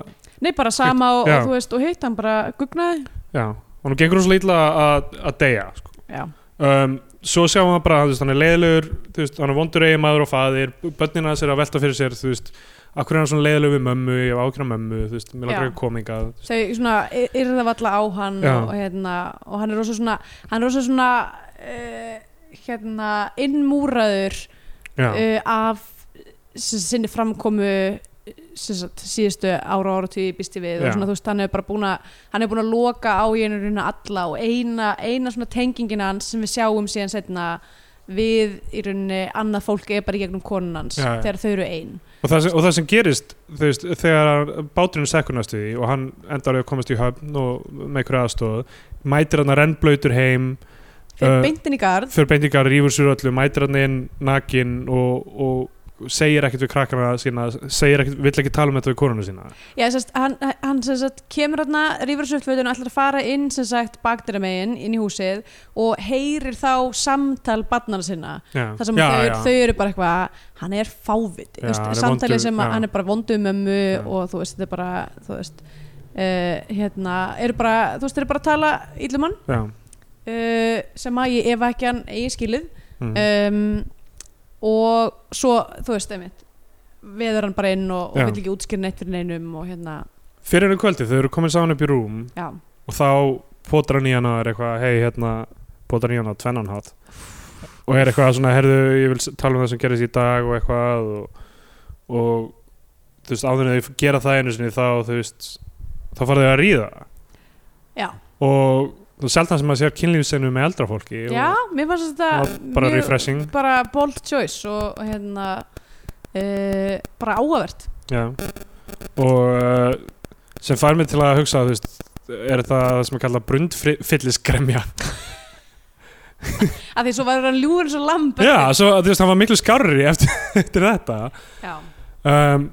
nei, bara sama og,
Já.
og þú veist, og hitt hann bara gugnaði,
já, og nú gengur hún svo lítla að, að deyja sko.
já
um, svo sjáum við bara, þú veist, hann er leiðilegur þú veist, hann er vondur eigin maður og faðir börnina hans er að velta fyrir sér, þú veist akkur er hann svona leiðilegur við mömmu, ég hef ákveðna mömmu þú veist, mér
Já.
langar ekki að koma hingað, þú veist.
þau svona yrða valla á hann
Já.
og, hérna, og hann er rosa svona hann er rosa svona uh, hérna, innmúraður
Já.
uh, af sem, sagt, sinni framkomu uh, sem sagt, síðustu ára ára tíu býsti við
Já.
og svona, þú veist, hann er bara búin að hann er búin að loka á í einu runa alla og eina, eina svona tengingin hans sem við sjáum síðan setna við í rauninni annað fólk er bara í gegnum konun hans
Já, já.
þegar þau eru ein
Og það, sem, og það sem gerist þú veist, þegar báturinn sekkunast í því og hann endar að komast í höfn og með einhverja aðstóð mætir hann að rennblöytur heim
þeir
Uh,
beintin í garð
fyrir beintingar rífur sér öllu, mætir hann inn nakin og, og segir ekkert við krakkana sína, segir ekkert, vill ekki tala um þetta við konuna sína
Já, sérst, hann, hann sem sagt, kemur hann rífur sér upp fötun og ætlar að fara inn sem sagt bakdyramegin inn í húsið og heyrir þá samtal barnana sinna
já.
þar sem þau, þau eru bara eitthvað hann er fáviti,
Já,
þú veist,
hann er
samtalið
vondur,
sem að,
já.
hann er bara vondum mömmu
Já.
og þú veist, þetta er bara þú veist, uh, hérna eru bara, þú veist, eru bara að tala illum hann
já.
uh, sem að ég ef ekki hann eigi skilið
Mm.
um, og svo þú veist einmitt veður hann bara inn og, og
Já.
vill ekki útskýra neitt fyrir neinum og hérna
fyrir enn kvöldi, um þau eru komin saman upp í rúm
já,
og þá potar hann í hana og er eitthvað, hei hérna potar hann í hana á tvennan hát og er eitthvað svona, herðu, ég vil s- tala um það sem gerist í dag og eitthvað og, og þú veist, áður en þau gera það einu sinni þá, þú veist þá fara þau að ríða
já,
og þú sjaldan sem að sér kynlífsenu með eldra fólki
já
og
mér fannst
það
þetta
var bara
mjög-
refreshing
bara bold choice og hérna uh, bara áhugavert
Já. og uh, sem fær mig til að hugsa þú veist, er þetta það sem að kalla brundfyllisgremja
að því svo var hann ljúfur eins og lamb
já, svo, þú veist, hann var miklu skárri eftir, *laughs* eftir þetta
já.
um,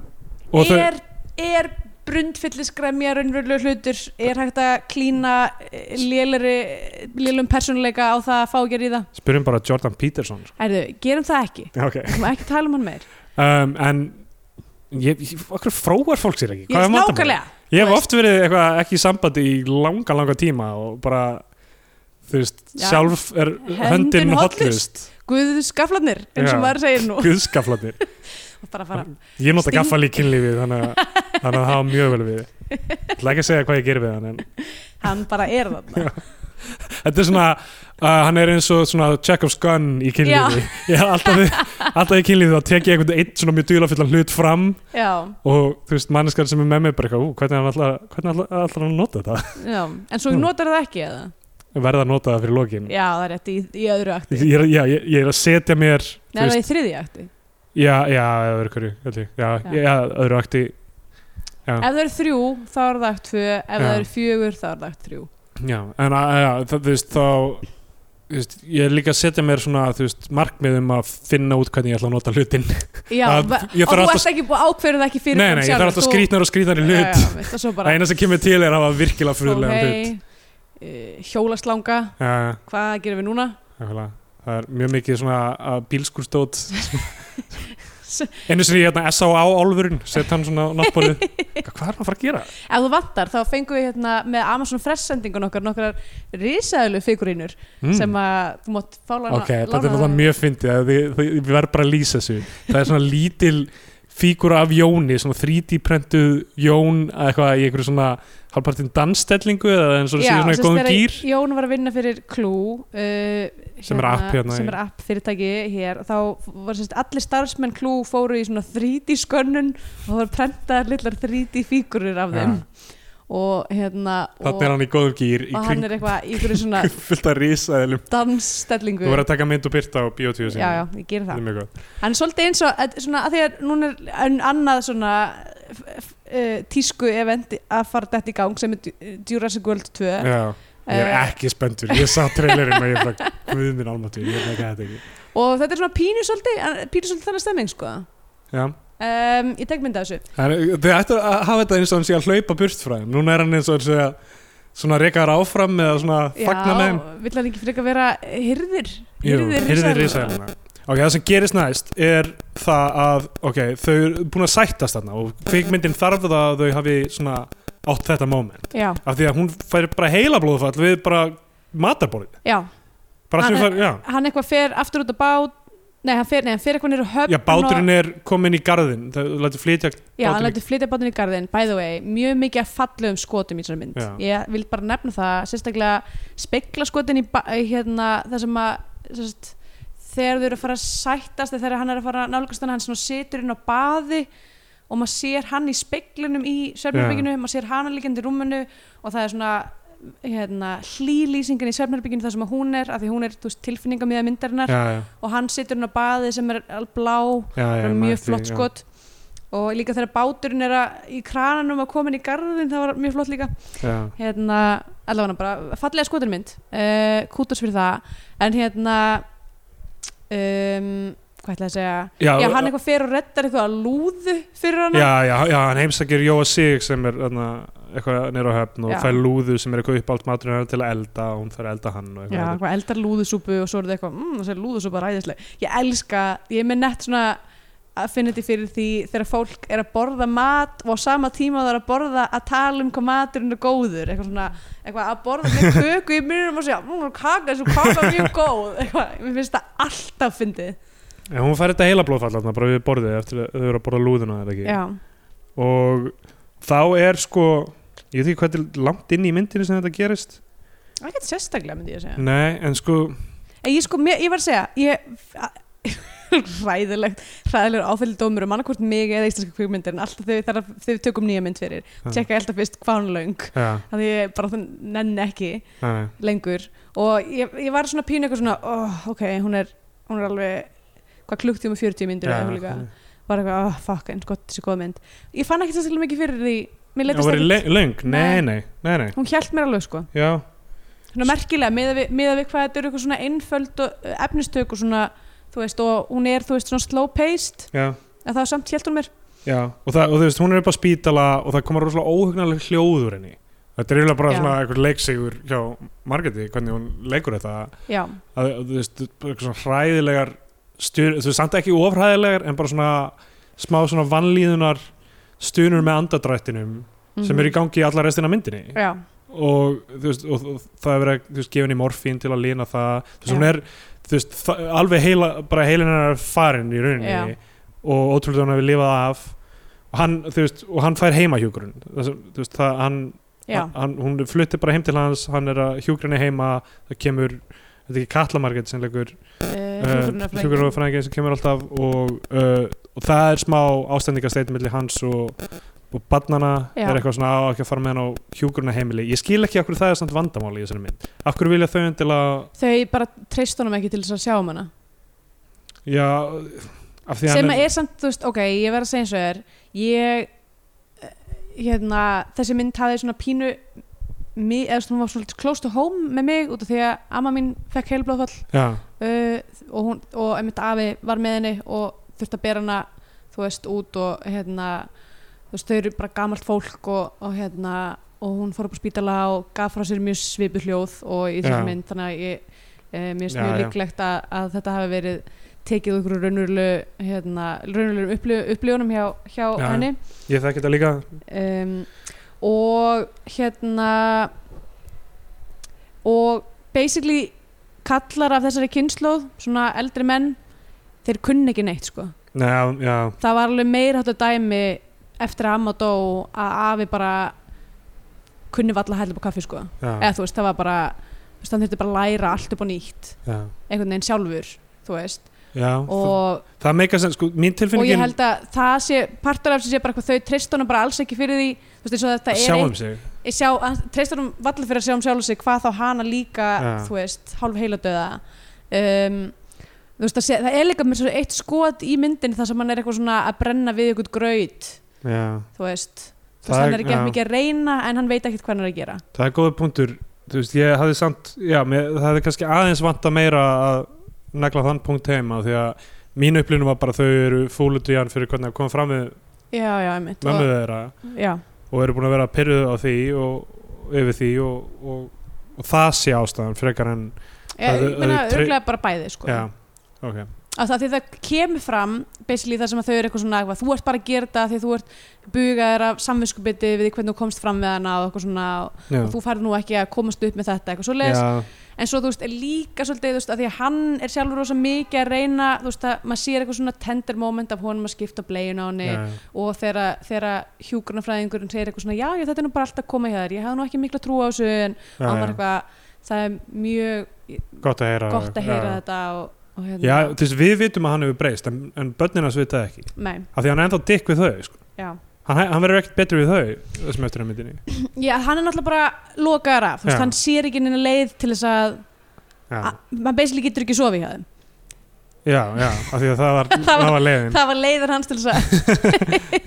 og þau,
er, er brundfyllisgremja raunverulega hlutur er hægt að klína eh, léleri, lélum persónuleika á það að fá ekki að ríða
spyrjum bara Jordan Peterson sko.
Erðu, gerum það ekki,
okay.
við má ekki tala um hann meir
um, en ég, ég, okkur fróar fólk sér ekki
Ég
Hvað er vandamálið?
nákvæmlega
ég hef
þú
oft verið eitthvað ekki í sambandi í langa, langa tíma og bara þú veist,
Já.
sjálf er
Höndin
höndin
hollust. *laughs*
hotlust
Guðu skaflarnir, eins og
Já.
maður segir nú
guðskaflanir
bara að fara
Ég nota
Sting-
gaffal í kynlífið þannig að þannig að það hafa mjög vel við Ég ætla ekki að segja hvað ég gerir við hann en
hann bara er þarna
þetta er svona, uh, hann er eins og svona Chekhov's gun í kynlífi *laughs* ég, alltaf, við- alltaf í kynlífi þá tek ég einhvern eitt svona mjög dýlafullan hlut fram
já,
og þú veist, manneskar sem er með mig bara eitthvað, "Ú, hvernig hann allar, hvernig allar, allar hann að nota þetta *laughs*
já, en svo
Mm.
notar það ekki eða?
verða að nota það fyrir lokin
já, það er rétt í, í öðru akti
ég, er- já, ég, ég er að setja mér
Nei, það er
veist-
í þriði akti
já, já, öðru hverju held ég. já,
Já.
já. já, öðru akti Já.
ef það eru þrjú, þá er það akt tvö ef það
Já.
eru fjögur, þá er það akt þrjú
Já, en að, já, það, þú veist þá þú veist, ég er líka að setja mér svona þú veist, markmiðum að finna út hvernig ég ætla að nota hlutin
já,
Að-
ba-
ég
og
þarf
þú
alltaf-
ert ekki búið ákverðið ekki fyrir
Nei, nei, ég þarf alltaf skrýtnar og skrýtnar í hlut
já, já, veist það svo
Það
bara
eina sem kemur til er að hafa virkilega fruðlega hlut
ok, eh, hjólaslanga
Já, já,
hvað gerum við núna?
nákvæmlega. það er mjög mikið svona að
*laughs*
bílskurstót
S-
Einu sinni ég hérna S.A.A. álfurinn set hann svona á
*laughs*
náttbólið Hvað er hann að fara að gera?
Ef þú vantar, þá fengum við hérna með Amazon Fresh sendingun okkar nokkrar risaðlu figurínur sem að þú mátt fá lána
Hmm. Mm. Ok, þetta er náttúrulega mjög fyndið að þið- þið- Við verðum bara að lýsa þessu Það er svona lítil fígura af Jóni svona 3D prentuð Jón að eitthvað í einhverju svona halvpartinn dansstellingu eða eins og það sé svona í góðum gýr
Jón var að vinna fyrir Clue uh,
Sem er app hérna í-
sem er app fyrirtæki hér þá var sérst allir starfsmenn Clue fóru í svona 3D skönnun og það var prentaðar lillar 3D fígurur af
Ja.
þeim og hérna og,
Þannig er hann í góðum gýr í
og hann
kring
er eitthvað í einhverju svona
*laughs* fullt að risaðilum
dansstellingu
Þú verður að taka mynd og byrta á biotíu sinni
já, já, ég gerir
Það
það
er mjög gott
hann er svolítið eins og að, svona, að því að núna er en annað svona f- f- eh, tísku event að fara þetta í gang sem er Du- Jurassic World 2
já. Ég er
Eh,
ekki spenntur, ég sá trailerinn og ég
*laughs*
er bara guðminn almatur, ég er ekki að þetta ekki
og þetta er svona pínu svolítið en- pínu svolítið þannig stemming sko
Já,
um, ég tek mynda þessu
Það er- Þið ættu að hafa þetta eins og hann sé að hlaupa burt frá þeim Núna er hann eins og hann sé að svona rekaður áfram eða svona fagna með þeim
vill hann ekki frekar vera hirðir
Jú, Hirðir
risaeðlanna?
risaðilina Ok, það sem gerist næst er það að ok, þau eru búin að sættast þarna og kvikmyndin þarf það að þau hafi svona átt þetta moment
já,
af því að hún fær bara heila blóðfall við bara matarborðið
já,
bara sem við
Hann-
fær, já
hann eitthvað fer aftur út á bát nei, hann fer, nei, hann fer eitthvað niður á höfn
Já, báturinn er komin í garðin þau lætur flytja
Já, hann
báturinn-
lætur flytja bátinn í garðin, by the way, mjög mikið að falla um skotum í þessari mynd.
Já.
Ég vil bara nefna það, sérstaklega spekla skotin í ba- hérna, það sem að, sérst, þegar þau eru að fara að sættast, eða þegar hann er að fara að nálgast hann, hann svona situr inn á baði og maður sér hann í speklinum í svefnherbygginu, maður sér hana líkjandi í rúminu og það er svona hérna, hlýlýsingin í svefnherbygginu þar sem að hún er, af því hún er þú veist, tilfinningamíða myndarinnar
Já, já,
og hann situr inn á baði sem er alblá
já, já
það var
ég man
mjög
eftir,
flott
já.
skot og líka þegar báturinn er að, í krananum að koma inn í garðin það var mjög flott líka
Já,
hérna, allavega bara fallega skoturmynd uh, kútos fyrir það en hérna um, hvað ætlaði að segja
já,
já, hann eitthvað fer og reddar eitthvað að lúðu fyrir hana
já, já, já, hann heimsækir Jóa Sig sem er þarna, eitthvað nýra á höfn og
Já.
fær lúðu sem er eitthvað uppált maturinn hennar til að elda og hún fær að elda hann og
Já,
eitthvað
eitthvað eldar lúðusúpu og svo er þetta eitthvað, mmm, þessi lúðusúpa er ræðisleg. Ég elska, ég er með nett svona að finna þetta fyrir því þegar fólk er að borða mat og á sama tíma það er að borða að tala um hvað maturinn er góður, eitthvað svona, eitthvað að borða með köku í munum og segja, mmm, kaka, þessu kaka er mjög góð, eitthvað, mér finnst það alltaf fyndið.
En hún fær þetta heila blóðfall þarna bara við borðið eftir að þau eru að borða lúðuna eða ekki
Já,
og þá er sko ég veit ekki hvað er langt inn í myndinu sem þetta gerist
ekkert sérstaklega myndi ég að segja
nei, en sko
En ég sko, mér, ég var að segja ég, *laughs* ræðilegt ræðilegur áfællið dómur um annarkvort mig eða íslenska kvikmyndir en alltaf þegar, þegar, þegar við tökum nýja mynd fyrir
Já.
tjekka ég alltaf fyrst hvað hún er löng
ja,
að ég bara þann nenni ekki
nei, nei.
lengur og ég, ég var svona pínu eitthvað svona oh, ok, hún er, hún er alveg hvað klukktíma 40 myndur
Ja,
eða eitthvað líka var eitthvað, oh, fuck, en gott, þessi góð mynd ég fann ekki sérstaklega mikið fyrir því mér
það
leiddist
voru
ekkert-
löng, nei, nei, nei, nei.
hún hjælt mér alveg sko
já,
svona merkilega miðað við, miðað við hvað þetta eru eitthvað svona einföld og eh, efnistök og svona þú veist og hún er þú veist svona slow paced
já
en það samt hjælt hún mér
Já, og, það, og þú veist, hún er upp á spítala og það koma rosalega óhugnarleg hljóður henni Þetta er eiginlega bara
Já.
svona einhver leiksegur hjá Margeti, hvernig hún leikur þetta að,
já,
að þú veist, bara eitthvað svona hræðilegar stjör, þú veist, samt ekki ofræðilegar en bara svona smá svona vannlíðunar stunur með andadrættinum sem eru í gangi í alla restina af myndinni
Mhm. já,
og, þú veist, og, og það er verið að, þú veist, gefa henni morfín til að lína það þú veist, hún
Já.
er þú veist, það, alveg heila, bara heilin hennar er farin í rauninni
Já.
og ótrúlega hún hefur lifað af og hann, þú veist, og hann fær heima hjúgrun þú veist, það, hann,
já,
hann hún fluttir bara heim til hans hann er að hjúgrunni heima það kemur, þetta er ekki Katlamarget sem leikur
Eh,
Eh,
uh,
hjúgrunarfræðingin sem kemur alltaf og, uh, og það er smá ástendingasteit milli hans og, og barnana
Já.
er eitthvað svona á ekki að fara með hann á hjúgrunarheimili ég skil ekki af hverju það er samt vandamáli í þessari mynd af hverju vilja þau til að
þau bara treyst honum ekki til þess að sjá um hana
já, af því
sem
að hann
er, samt, þú veist, ok, ég verð að segja eins og er ég eh, hérna, þessi mynd hafði svona pínu mi, eða svona hún var svona close to home með mig út af því að amma mín fekk heilblóðfall
já,
uh, og, hún, og einmitt afi var með henni og þurfti að bera hana þú veist út og hérna þú veist þau eru bara gamalt fólk og, og hérna og hún fór upp á spítala og gaf frá sér mjög svipu hljóð og í
Já.
þessari mynd þannig að ég eh, mér finnst
Já,
mjög
já.
líklegt að, að þetta hafi verið tekið úr einhverju raunverulegu hérna, raunverulegum upplif, upplifunum hjá, hjá
Já, já.
henni
ég þekki þetta líka
um, og hérna og basically kallar af þessari kynnslóð svona eldri menn þeir kunni ekki neitt sko
Nei, já, já,
það var alveg meir hættu dæmi eftir að amma dó að afi bara kunni valla hætla upp á kaffi sko
já,
eða þú veist það var bara þú veist, hann þurfti bara að læra allt upp á nýtt
já,
einhvern veginn sjálfur þú veist
já það,
og
það meika sem, sko,
og
mín
ég
tilfinningin
held að það sé partur af þessu sé bara hvað þau treyst honum bara alls ekki fyrir því þú veist eins og þetta
að
er
sjá
ein-
um sig
ég sjá, hann treystur hún valla fyrir að sjá um sjálf sig hvað þá hana líka,
Já.
þú veist, hálf heiladauða um, þú veist, það, sé, það er líka með svo eitt skot í myndin þar sem hann er eitthvað svona að brenna við eitthvað graut
já.
þú veist, þú
Það
veist,
er-
hann er ekki
já.
að mikið að reyna en hann veit ekkert hvað hann er að gera
Það er góða punktur Þú veist, ég hafði samt Já, mér, það hefði kannski aðeins vanta meira að negla þann punkt heima því að mín upplýnum var bara að þau eru fúlut í hann fyrir hvernig að koma fram við
já, já, einmitt
mömmu
og,
þeirra
já,
og eru búin að vera pyrruð á því og yfir því og, og, og það sé ástæðan frekar en
ég,
er-
ég meina
það er tre-
örglega bara bæði sko.
Já, ok
að það, því það kemur fram basically það sem að þau eru eitthvað svona eitthvað, þú ert bara að gera þetta því þú ert bugaðir af samvinskubiti við því hvernig þú komst fram við hana og eitthvað svona og,
Já,
og þú færð nú ekki að komast upp með þetta eitthvað svo
já,
en svo þú veist er líka svolítið þú veist að því að hann er sjálfur rosa mikið að reyna þú veist að maður sér eitthvað svona tender moment af honum að skipta blegin á henni
já,
og þegar, þegar hjúkurnafræðingurinn segir eitthvað svona já, já þetta er nú bara allt að koma hjá þér ég hafði nú ekki mikla trú á þessu en
já,
hann var
já.
eitthvað það er mjög
Gott að heyra
gott að heyra
já.
þetta og, og
Já,
hérna
þú veist, við vitum að hann hefur breyst en, en börnina svo það ekki
nei,
af því að hann er ennþá dikk við þau sko.
já.
hann, hann verður ekkert betri við þau þessum eftir að myndinni
já, hann er náttúrulega bara lokaður af þú
Já.
veist hann sér ekki neina leið til þess að
Já.
að- maður basically getur ekki sofið hjá þeim
Já, já, af því að það var,
*laughs* Það
það
var-
var leiðin
það var leiður hans til þess að
*laughs*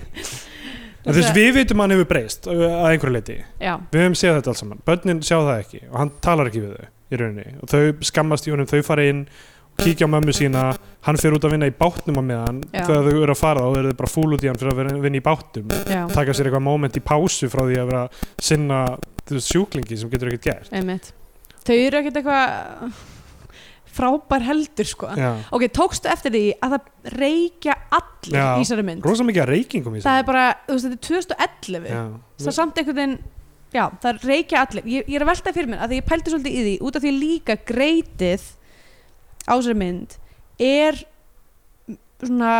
En þess við vitum að hann hefur breyst ö, að einhverju leiti
já,
Við höfum séð þetta alls saman, börnin sjá það ekki og hann talar ekki við þau í rauninni og þau skammast í honum, þau fara inn kíkja á mömmu sína, hann fer út að vinna í bátnum á meðan,
Já.
þegar þau eru að fara þá eru þau bara fúl út í hann fyrir að vera- vinna í bátnum
já,
taka sér eitthvað moment í pásu frá því að vera að sinna þú veist, sjúklingi sem getur ekkert gert
einmitt þau eru ekkert eitthvað frábær heldur sko
Já,
ok, tókstu eftir því að það reykja allir
Já.
í þessari mynd
rosa mikið að reykingum í
það er bara, þú veist, þetta er 2011 það er
Já,
samt einhvern veginn já, það reykja allir, ég, ég er að velta fyrir mér að því ég pældi svolítið í því, út af því líka greitið á þessari mynd er svona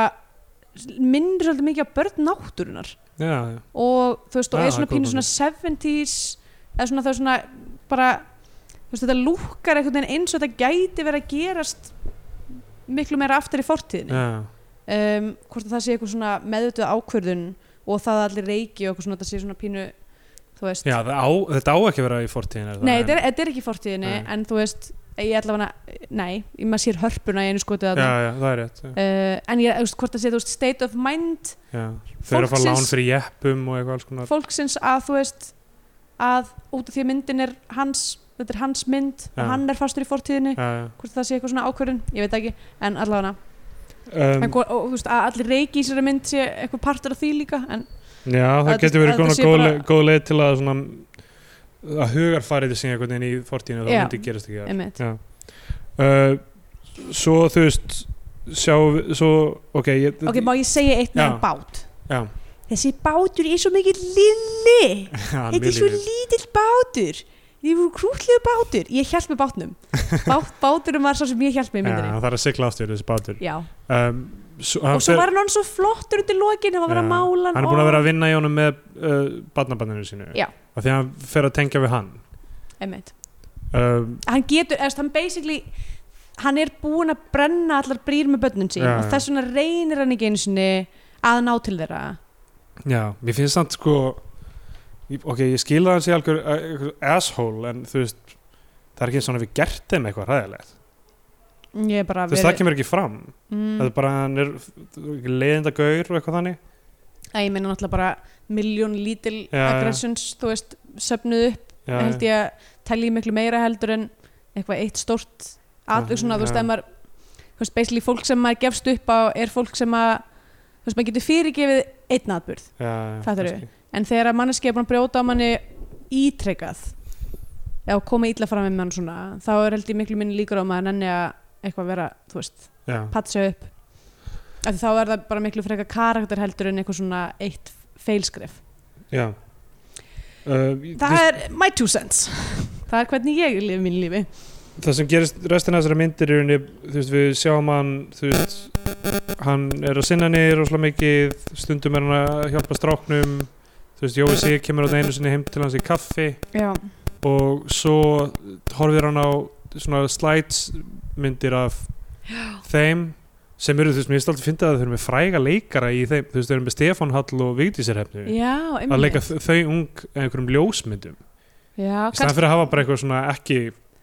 minnir svolítið mikið á börn náttúrunar
já,
og þú veist, og
Já,
er svona
það er
pínu
góð
svona 70s eða svona það er svona bara, þú veist, þetta lúkkar einhvern veginn eins og þetta gæti verið að gerast miklu meira aftur í fortíðinni
já,
um, hvort að það sé eitthvað svona meðutuð ákvörðun og það að allir reiki og eitthvað svona, þetta sé svona pínu þú veist,
já það á, þetta á ekki að vera í fortíðin
nei, þetta er, þetta er ekki í fortíðinni,
Nei.
en þú veist ég ætla að hana, nei, ég maður sér hörpuna í einu skotið að
já,
það
já, það er rétt já,
Uh, en ég, þú veist, hvort að sé, þú veist, state of mind
já. þau eru að fara lán
Fólksins-
fyrir jeppum og eitthvað alls konar
fólksins að þú veist að út af því að myndin er hans þetta er hans mynd
Já.
og hann er fastur í fortíðinni
já, já.
hvort það sé eitthvað svona ákvörðun, ég veit það ekki en allavega, um,
Um,
en, hvo- og, þú veist, að allir reiki í sér mynd sé eitthvað partur af því líka en
já, það
Að-
getur
að
verið góð,
þetta sé
góð,
bara-
le- góð leið til að svona, að hugarfarið þessi einhvern veginn í fortíðinu það
Já.
myndi gerast ekki þar.
einmitt,
uh, svo þú veist sjá, svo, ok ég,
ok,
*laughs*
má ég segja eitt með
Já.
hann bát
Já.
þessi bátur er svo mikið lilli
hann
þetta er svo lítill bátur ég voru krútlegu bátur, ég held með
*laughs*
bátnum Bát, báturum var svo sem ég held með í myndinni
það er að sigla aftur þessi bátur
já,
um, svo,
og svo var hann orðinn svo flottur undir lokin, hann var að vera
Já.
að mála
hann er búin að vera að vinna í honum með uh, barnabanninu sínu
Já.
af því að hann fer að tengja við hann
einmitt
um,
hann getur, eða þú veist, hann basically hann er búinn að brenna allar brýr með börnum sín
Já,
og
já.
þess vegna reynir hann ekki einu sinni að ná til þeirra
já, mér finnst samt sko ég- ok, ég skil að hann sé algjör algjör asshole en þú veist það er ekki eins og hann hefur gert þeim eitthvað ræðilegt
ég er bara
þú veist, það kemur ekki fram það
mm,
er bara, hann er leiðinda gaur og eitthvað þannig
að ég meina náttúrulega bara miljón lítil
Já, já.
aggressions, þú veist, söfnuð upp
já,
held ég að telji miklu meira heldur en eitthvað eitt stórt atvik svona, þú veist,
já.
ef maður þú veist, basically fólk sem maður gefst upp á er fólk sem að, þú veist, maður getur fyrirgefið einn atbyrð
já, já,
Fattarðu?
kannski.
en þegar að manneski er búin að brjóta á manni ítrekkað eða koma illa fram með mann svona þá er held ég miklu minni líkur á að maður nenni að eitthvað vera, þú veist,
já,
patsa upp af því þá er það bara miklu frekar karakter heldur en eitthvað svona eitt feilskref
já Uh,
það er my two cents *laughs* það er hvernig ég lifi mínu lífi
það sem gerist restina af þessara myndir í rauninni, þú veist, við sjáum hann þú veist, hann er að sinna henni rosalega mikið, stundum er hann að hjálpa stráknum, þú veist, Jói sig kemur á einu sinni heim til hans í kaffi
já,
og svo horfir hann á svona slides myndir af þeim sem eru, þú veist, mér finnst alltaf að finna að þau eru með fræga leikara í þeim, þú veist, þau eru með Stefán Hall og Vigdísir hefni,
já,
að leika
einmitt
þ- þau ung einhverjum ljósmyndum,
já,
í staðan fyrir að hafa bara eitthvað svona ekki,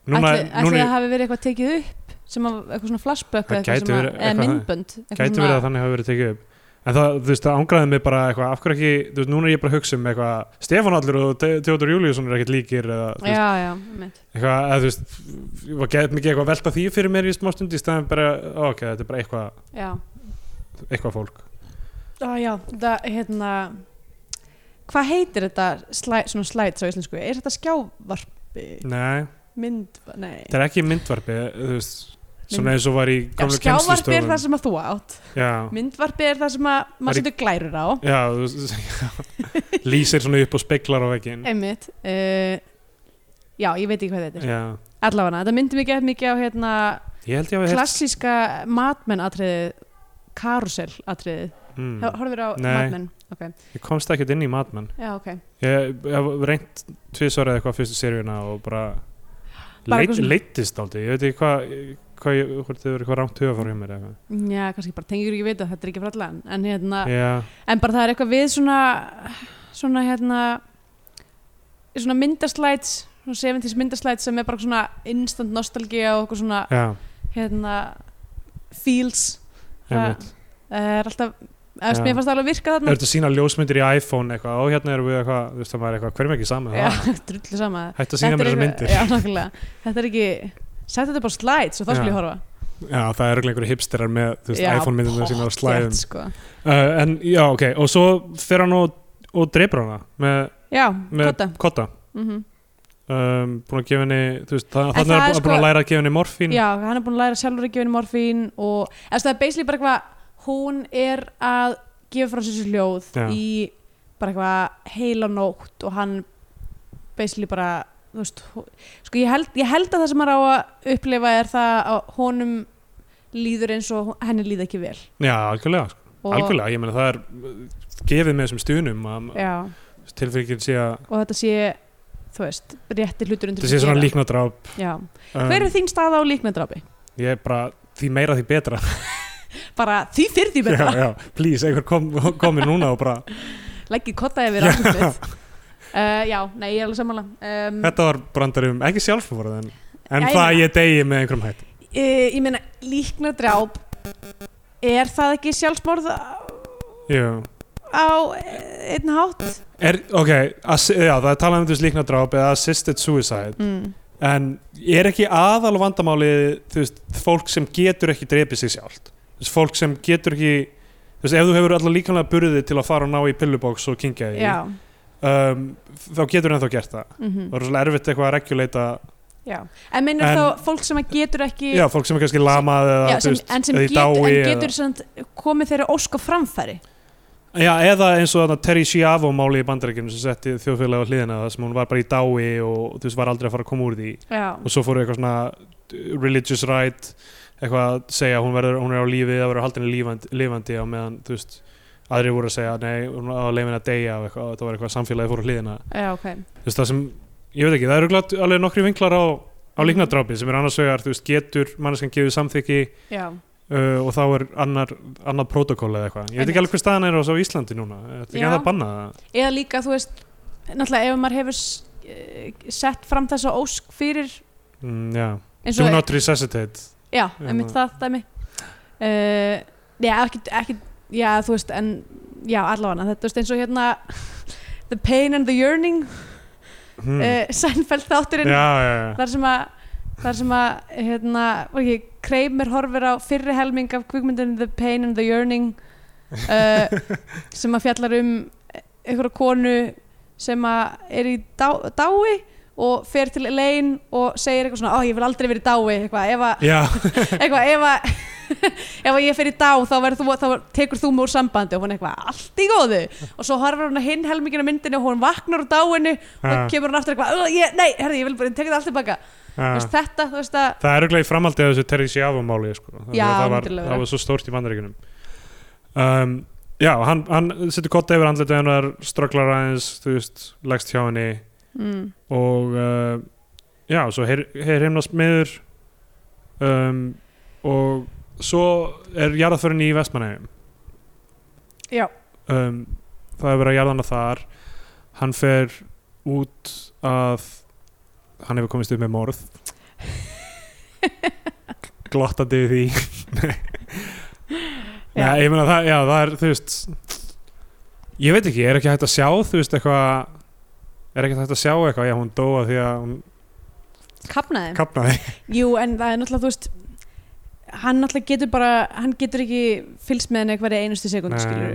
núna,
ætli, ætli það hafi verið eitthvað tekið upp sem að, eitthvað svona flashback
Það
eða eitthvað
gæti
sem að-
verið
eða
eitthvað-
myndbönd eitthvað
gæti verið að þannig hafi verið tekið upp en það, þú veist, það ángraði mig bara eitthvað af hverju ekki, þú veist, núna er ég bara að hugsa um eitthvað Stefán Allur og Te- Theodor Júliusson er ekkert líkir eða, þú veist,
já, já, einmitt
eitthvað, eða, þú veist ég var gett mikið eitthvað að velta því fyrir mér í smá stund í staðan bara, ó, ok, þetta er bara eitthvað
já.
eitthvað fólk
Ah, já, það, hérna, hvað heitir þetta slæ, svona slides á íslensku? Er þetta skjávarpi?
nei,
Mynd, nei.
þetta er ekki myndvarpi þú veist,
Mynd-
svona eins og var í
Já,
gamlu
skjávarpi er
kennslustofum
það sem að þú átt.
já,
Myndvarpi er það sem að
Var í-
maður setur glærur á.
já, þú
*laughs*
veist lýsir svona upp og speklar á veginn
Einmitt. Uh, já, ég veit ekki hvað þetta er.
já,
Allavega, þetta myndi mikið mikið á hérna,
ég held ég að
klassíska matmenn-atriðið, karusell-atriðið. Mm.
mm,
Horfir á
Nei.
matmenn? Ok,
ég komst ekkert inn í matmann
já, ok.
Ég ég hef reynt tvisvar eða eitthvað fyrstu seríuna og bara,
Bara
leit,
eitthvað svona-
leittist aldrei, ég veit ekki hvað hva, hvort þau eru eitthvað rangt hugafar hjá mér eða
Já, kannski bara tengjur ekki vita, þetta er ekki frallan. En hérna,
eitthvað Já,
en bara það er eitthvað við svona svona hérna svona myndaslæts svona 70s myndaslæts sem er bara svona instant nostalgia og eitthvað svona
já,
hérna feels
einmitt
það er alltaf eða veist,
Já.
mér fannst það alveg virka
Það
þarna
eru að sína ljósmyndir í iPhone eitthvað og hérna erum við eitthvað, þú veist það maður er eitthvað, hverjum ekki
*laughs*
saman
Já,
það
drullu sama
Hættu að sína
Þetta
Ah. mér
er
þessar
eitthvað-
myndir
já, nákvæmlega. þetta er ekki setja þetta bara á slides og þá skulle
Já.
ég horfa
Já, það eru örugglega einhverju hipsterar með þú veist,
Já,
iPhone myndirna sína á
pottþétt,
slæðum
sko.
uh, En já, ok, og svo fer hann og, og dreipur hana með,
já,
með
kotta
kotta
mm
um, búin að gefa henni, þú veist, það,
En það
þannig er
er
bú- búin
sko-
að læra að gefa henni morfín
Já, hann er búin að læra sjálfur að gefa henni morfín og eða, það er basically bara eitthvað hún er að gefa frá sér sér hljóð
Já.
í bara eitthvað heila nótt og hann basically bara þú veist, hó- sko ég held, ég held að það sem hann á að upplifa er það að honum líður eins og hon- henni líð ekki vel
já algjörlega,
og
Algjörlega, ég meina það er gefið með þessum stunum að
já,
tilfyrir sé að
og þetta sé þú veist, rétti hlutur undir
þetta sé svona líknadráp
já.
um,
hver er þín staða á líkmyndrápi?
ég er bara því meira því betra, *laughs*
bara því fyrir því betra,
Já, já, please, einhver kom, komi núna og bara
leggið kottaði við rannsóknir
*laughs*
uh, já, nei, ég er alveg sammála um,
þetta var brandari um, ekki sjálfsmórað en, en
Já, ég
það að
meina-
ég degi með einhverjum hætt
uh, ég meina líknadráp er það ekki sjálfsmorð á
Jú.
á, eh, einn hátt
er, ok, ass, já, það er talað um þessu líknadráp eða assisted suicide
mm.
en er ekki aðal vandamáli þú veist, fólk sem getur ekki drepið sig sjálft þú veist, fólk sem getur ekki þú veist, ef þú hefur allar líkanlega burði til að fara og ná í pillubóks og kingja því
já,
um, þá getur ennþá gert það
mm
það er svolítið erfitt eitthvað að reguleita
já en meinar
En-
þá fólk sem að getur ekki
já, fólk sem er kannski lamað eða,
já,
þú
sem,
veist,
en sem
eða í
getur, en
dái
getur samt, komið þeirra ósk á framfæri
eða, já, eða eins og þarna Terry Schiavo máli í bandarækjunum sem setti þjóðfélag á hliðina það sem hún var bara í dái og þú veist, var aldrei að fara að koma úr því
já,
og svo fóru eitthvað svona religious right eitthvað að segja hún, verður, hún er á lífi það verður haldinni lífandi, lífandi á meðan þú veist aðrir voru að segja nei, hún á leiðin að deyja og eitthvað, og það var eitthvað samfélagi fór á hliðina
já, ok
þú veist það sem, ég veit ekki, það eru glatt, alveg nokkri vinklar á, á líknadrápi sem er annars vegar, þú veist, getur manneskan gefið samþykki
já,
uh, og þá er annar, annar protokól eða eitthvað, ég veit ekki
Einmitt.
alveg hver staðan er á svo Íslandi núna, þetta er ekki
Já.
að banna það
eða líka þú veist náttúrulega ef maður hefur s- eh, sett fram þessa ósk fyrir
mm, já,
eins
do
og,
not resuscitate
já,
Já.
einmitt það dæmi uh, já, ekki, ekki já, þú veist, en já, allavega þetta þú veist eins og hérna *laughs* The Pain and the Yearning
hmm.
uh, Seinfeld þátturinn
já, já, já,
þar sem að þar sem að, hérna, var ekki Kramer horfir á fyrri helming af kvikmyndinu The Pain and the Yearning
*laughs*
uh, sem að fjallar um einhverja konu sem að er í dá, dái og fer til Elaine og segir eitthvað svona, ó ég vil aldrei verið dái eitthvað, ef að,
já.
*laughs* eitthvað, ef að *laughs* ef að ég fer í dá þá, verður þú, þá tekur þú mig úr sambandi og hún eitthvað, allt í góðu og svo horfir hún að hinn helmingina myndinu og hún vaknar úr dáinu og
Ah.
þá kemur hún aftur eitthvað, "Ugh, ég, nei, herri, ég vil bara tekja það allt tilbaka
já.
þú veist, þetta, þú veist að
Það er auðvitað í framhaldi af þessu Terry Schiavo máli sko. Af því
Já,
að það var,
náttúrulega.
það var svo stórt í bandaríkunum um, Já, hann, hann setur kotta yfir andlitið hennar strögglar aðeins, þú veist, leggst hjá henni
mm.
og uh, já, svo heyr heyr himna smiður um, og svo er jarðaförin í Vestmanægum
Já.
um, Það er verið að jarðana þar hann fer út að hann hefur komist upp með
*laughs*
morð glottandi við því
Já.
Já, ég meina það, já, það er, þú veist ég veit ekki, er ekki hægt að sjá þú veist, eitthvað er ekki hægt að sjá eitthvað, já, hún dóa því að hún
kapnaði
kapnaði
jú, en það er náttúrulega, þú veist hann náttúrulega getur bara, hann getur ekki fylgst með henni hverja einustu sekund
Nei.
skilur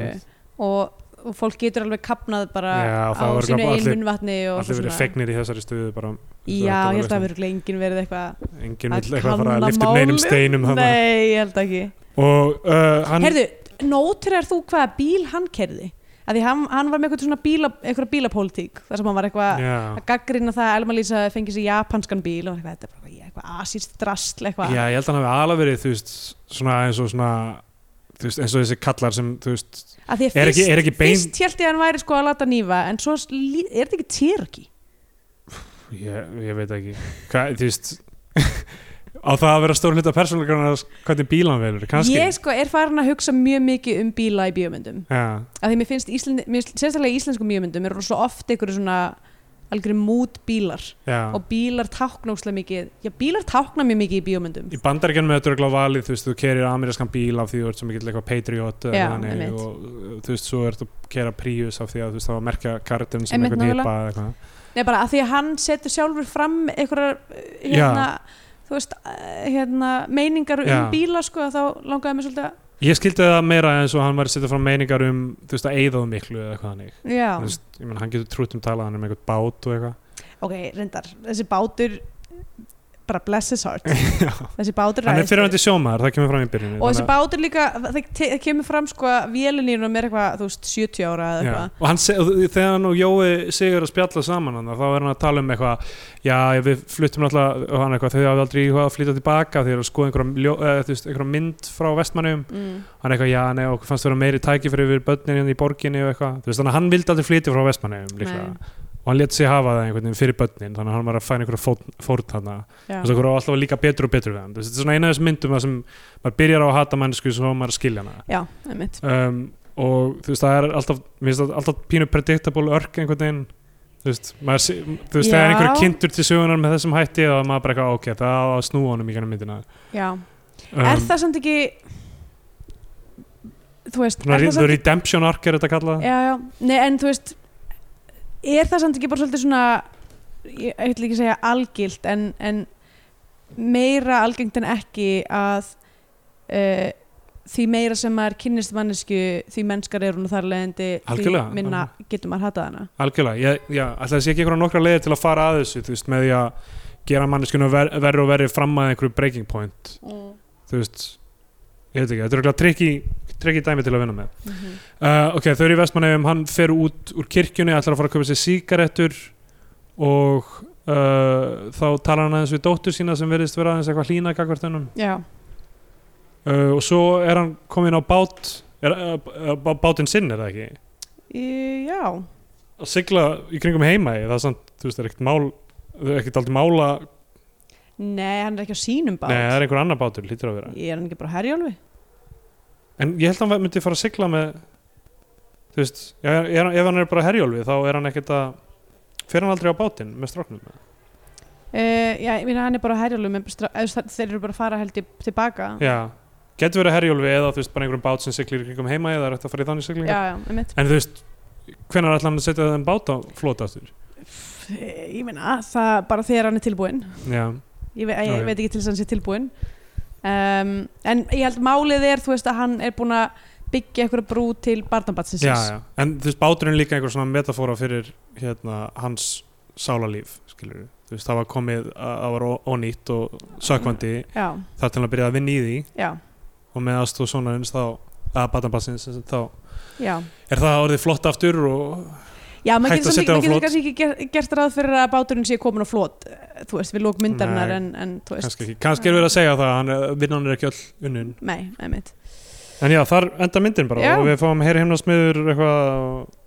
og, og fólk getur alveg kapnað bara
Já, það
á
var
sínu
bara
einn
allir-
munnvatni og
allir verið
svona.
fegnir í þessari stöðu bara,
já,
Það er
ég held að það
bara
verður enginn verið eitthvað
enginn
Að
vill eitthvað fara að
kanna
lifta um neinum
málið?
steinum þarna.
nei, ég held ekki
og uh, hann
heyrðu, nótrar þú hvaða bíl hann kerði að því hann, hann var með eitthvað svona bíla, eitthvað bílapólitík þar sem hann var eitthvað
já,
að gaggrina það að Elma Lísa fengi sér japanskan bíl og eitthvað, þetta er bara eitthvað asist drastl eitthvað
já, ég held að hann hafi alveg verið, þú veist, svona eins og svona þú veist, eins og þessi kallar sem, þú veist
Af því að
er
fyrst,
ekki, er ekki bein
fyrst held ég að hann væri sko að lata nýfa en svo lí- er þetta ekki Cherokee
ég, ég veit ekki hvað, þú veist *laughs* á það að vera stór hluta persónleikana hvernig bíl hann velur, kannski
ég sko er farin að hugsa mjög mikið um bíla í bíómyndum
já,
af því mér finnst Íslandi, mér, finnst- sérstaklega í íslensku bíómyndum eru svo oft einhverju svona algjörðu mút bílar
já.
og bílar tákna óslega mikið já bílar tákna mjög mikið í bíómyndum
í bandaríkjanum er þetta örgla valið þú veist, þú kerir amerískan bíl af því þú ert svo mikill eitthvað patriot eða
Já,
þannig,
einmitt.
og uh, þú veist, svo ert að kera Prius af því að þú veist, það var að merkja karakterin sem
Einmitt,
einhvern
nákvæmlega.
hipa eða eitthvað.
Nei, bara að því að hann setur sjálfur fram einhverjar, eh, hérna, þú veist, eh, hérna, meiningar um
Já.
bíla, sko, að þá langaði mér svolítið að,
ég skildi það meira eins og hann var að setja fram meiningar um þú veist, að eigðaðu miklu eða eitthvað þannig
já,
Þú veist, ég menn, hann getur trútt um talað hann um eitthvað bát og eitthvað
ok, reyndar, þessi bátur bara bless his
*laughs*
heart
Já.
*laughs* þessi bátur
hann er
ræðist
fyrirvændi sjómaður, það kemur fram í byrjunni
og þessi
þannig að-
bátur líka, það, það kemur fram sko að vélinýrunum er eitthvað, þú veist, 70 ára eða
Já.
eitthvað
og hann, se- og þegar hann og Jói sigur að spjalla saman hann, þá er hann að tala um eitthvað já, við fluttum alltaf og hann eitthvað, þau hafa aldrei íhugað að flytja tilbaka þegar að skoða einhverja, ljó, eða, þú veist, einhverja mynd frá vestmannum,
mm.
hann eitthvað, já, nei, okkur fannst vera meiri tæki fyrir við börnin hérna í borginni og eitthvað, þú veist, þannig að hann vildi aldrei flytja frá vestmannum líklega,
Nei.
og hann let sig hafa það einhvern veginn fyrir börnin, þannig að hann var að fæna einhverja fórn, fórn þarna
Já.
þess að okkur á alltaf að líka betur og betur við hann Þú veist, þetta er svona eina af þessum myndum þar sem maður byrjar á að hata mannsku svo maður skilja hana
Já, einmitt
um, og þú veist það er alltaf, mér finnst það alltaf pínu predictable örk einhvern veginn þú veist, maður, sé- þú veist þegar
Já.
einhver er kynntur til sögunar með þessum hætti þá er maður bara eitthvað ok, það á að snúa honum í gennum myndina
Já,
um,
er það samt ekki Þú veist,
svona,
er
re-
það
the
samt
redemption arc er þetta kallað
Já, já, nei en þú veist Er það samt ekki bara svolítið svona Ég ég ætla ekki að segja algilt en, en meira algengt en ekki að uh, því meira sem maður kynnist mannesku því mennskar er hún og þar leðandi því
Algjörlega,
minna getur maður hatað hana
algjörlega, ég, já, ætla þessi ekki einhverja nokkra leiðir til að fara að þessu, þú veist, með því að gera manneskinu ver, verri og verri fram að einhverju breaking point, þú veist ég veit ekki, þetta er eitthvað trikki, trikki dæmi til að vinna með
Mhm.
Uh, ok, þau eru í Vestmannaugum, hann fer út úr kirkjunni, ætlar að fara að köpa sér síkarettur og uh, þá talar hann aðeins við dóttur sína sem verðist vera aðeins eitthvað hlýna gagvart hennum
Já,
uh, og svo er hann kominn á bát, er, uh, bá- bátinn sinn er það ekki?
í, já
Að sigla í kringum heima, það er samt, þú veist, það er ekkert mál, það er ekkert aldrei mála,
Nei, hann er ekki á sínum bát
nei, það er einhver annar bátur, lítur að vera.
Ég er hann ekki bara á herjálfi
En ég held að hann myndi fara að sigla með, þú veist, ef, ef hann er bara herjólfi þá er hann ekkert að, fer hann aldrei á bátinn með stráknum?
Uh, já, ég meina hann er bara á herjálfi með stra- eða þú veist, þeir eru bara að fara held ég tilbaka
Já, getur verið herjólfi eða þú veist bara einhverjum bát sem siglir í kringum heima eða er þetta að fara í þannig siglingar
já, já einmitt
En þú veist, hvenær ætla hann að setja þenn bát á flota aftur?
Pff, ég meina það bara þegar hann er tilbúinn
Já,
ég, ve ég
Já, já.
veit ekki til þess að hann sé tilbúinn um, en ég held málið er þú veist að hann er búinn að byggja eitthvað brú til barnabatsins
já, já En þú veist, báturinn er líka einhver svona metafóra fyrir hérna hans sálarlíf skilur þú veist, það var komið að það var ó- ónýtt og sökvandi
já,
þar til að byrja að vinna í því
já,
og með aðstóð sonarins þá að batabassins þá
já.
er það orðið flott aftur og
Já, maður
Hægt
getur
að
samt-
setja á
maður getur
flot.
kannski ekki ger- gert ráð fyrir að báturinn sé komin á flot eh, þú veist, við lók myndarinnar
Nei.
en, en þú veist,
kannski ekki kannski er verið að segja það, að hann- vinnan er ekki öll unnun
nei, einmitt
En já, þar enda myndin bara
Já.
og við fáum heyri himnasmiður eitthvað og,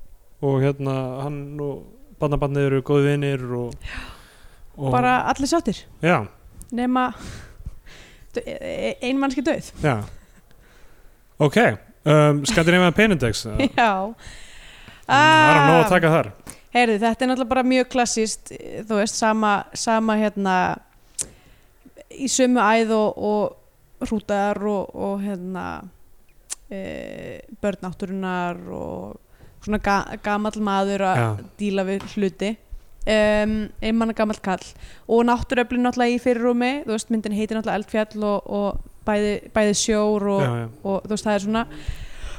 og hérna hann og barnabarnið eru góði vinir og, og
bara allir sáttir,
Já,
nema *laughs* e- ein mannski döð
já Ok, um, skandir nefna
*laughs*
penindex uh,
Ah.
mm, Það er
Já
Mm,
Ah.
að nóg að taka þar
Heyrðu, þetta er náttúrulega bara mjög klassist þú veist, sama, sama hérna í sömu æð og, og rútar og, og hérna e, börnátturinnar og svona ga, gamall maður að
Já,
díla við hluti um, einmann að gamall kall og náttúröflin náttúrulega í fyrirrúmi þú veist, myndin heitir náttúrulega Eldfjall og, og bæði, bæði sjór og,
já, já
og þú veist það er svona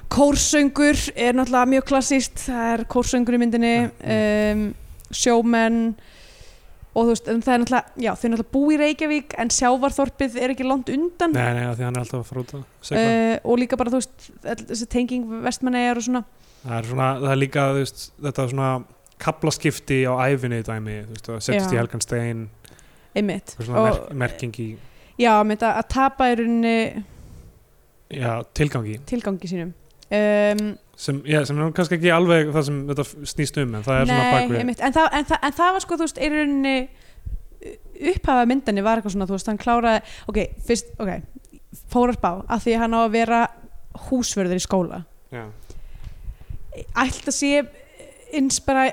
kórsöngur er náttúrulega mjög klassíst það er kórsöngur í myndinni um, sjómenn og þú veist, en það er náttúrulega já, þau náttúrulega bú í Reykjavík en sjávarþorpið er ekki langt undan
Nei, nei, af því hann er alltaf að fara út að segla
uh, og líka bara þú veist öll þessi tenging vestmannegar og svona
Það er svona, það er líka þú veist, þetta svona kaplaskipti á æfinni dæmi, þú veist, að setjast
Já.
í helgan stein
einmitt
eitthvað svona
og,
merk, merking í
já, mynd að, að tapa í rauninni
já, tilgangi
tilgangi sínum um,
sem, já, sem er nú kannski ekki alveg það sem þetta f- snýst um en það er svona
Nei,
bakvið
einmitt, en, það, en, það, en það var sko, þú veist, er í rauninni upphafa myndinni var eitthvað svona, þú veist, hann kláraði ok, fyrst, ok, fórar bá að því að hann á að vera húsvörður í skóla
Já.
ætla sé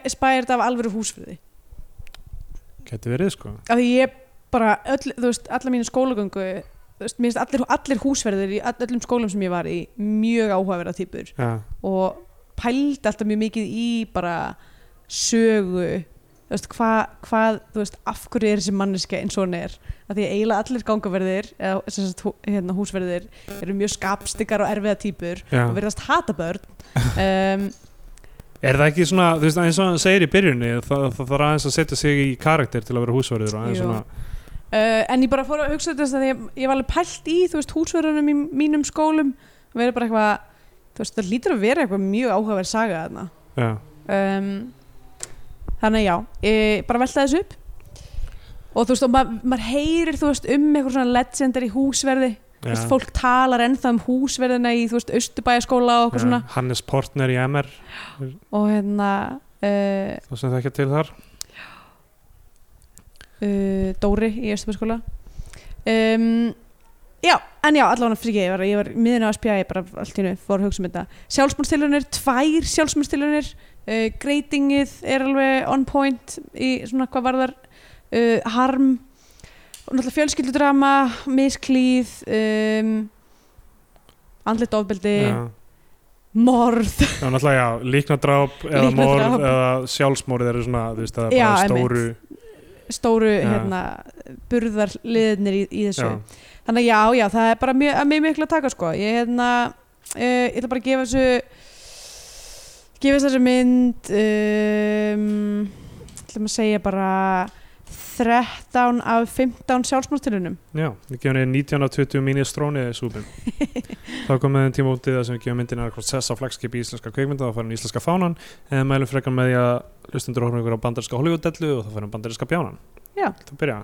inspired af alvöru húsvörði
Gæti verið sko
af því ég bara, öll, þú veist, alla mínu skólagöngu þú veist, mér finnst allir, allir húsverðir í all- öllum skólum sem ég var í mjög áhugaverða týpur
Já,
og pældi alltaf mjög mikið í bara sögu þú veist, hvað, hvað, þú veist, af hverju er þessi manneska eins og hann er að því að eiginlega allir gangaverðir eða sem sagt, hú- hérna, húsverðir eru mjög skapstikar og erfiða típur
já.
og verðast hata börn um,
Er það ekki svona, þú veist, eins og hann segir í byrjunni það, það, það er aðeins að setja sig í karakter til að vera húsverður og aðeins
Jú.
svona
uh, en ég bara fór að hugsa þetta þess að ég, ég var alveg pælt í þú veist húsverðunum í mínum skólum og verið bara eitthvað þú veist það lítur að vera eitthvað mjög áhugaverð saga þarna
já.
um, þannig að já e, bara velta þessu upp og þú veist og maður maður heyrir þú veist um eitthvað svona legendary húsverði þú veist fólk talar ennþá um húsverðina í þú veist austurbæjaskóla og eitthvað svona
Hannes Portner í MR
og hérna uh,
þá sem það ekki til þar
uh, Dóri í Östumarskóla um, Já, en já, allavega fyrir ég var, ég var miðin á SPI, bara allt í hennu fór að hugsa um þetta Sjálfsmúrstilunir, tvær sjálfsmúrstilunir uh, Greitingið er alveg on point í svona hvað varðar uh, harm og náttúrulega fjölskyldudrama misklíð um, andlit ofbeldi
já.
morð *laughs*
Já, náttúrulega já, líknadráp eða
Líknardráp.
morð eða sjálfsmórið eru svona þú veist, það er
Já,
bara
einmitt.
stóru
stóru
Já.
hérna, burðarliðnir í, í þessu
já,
þannig að já, já, það er bara mjög, að mjög miklu að taka sko ég, hérna, uh, ég ætla bara að gefa þessu gefa þessu mynd um, ætlum að segja bara 13 af 15 sjálfsmálstilunum
já, við gefum henni 19 af 20 mínir strónið í
*laughs*
súpin þá kom með þeim tíma úti þar sem við gefum myndina hvort sess á flagskipi íslenska kveikmynda þá færum við íslenska fánan en mælum frekar með því að hlustundur horfum ykkur á bandarinska Hollywood-dellu og þá færum bandarinska bjánan
Já.
það byrja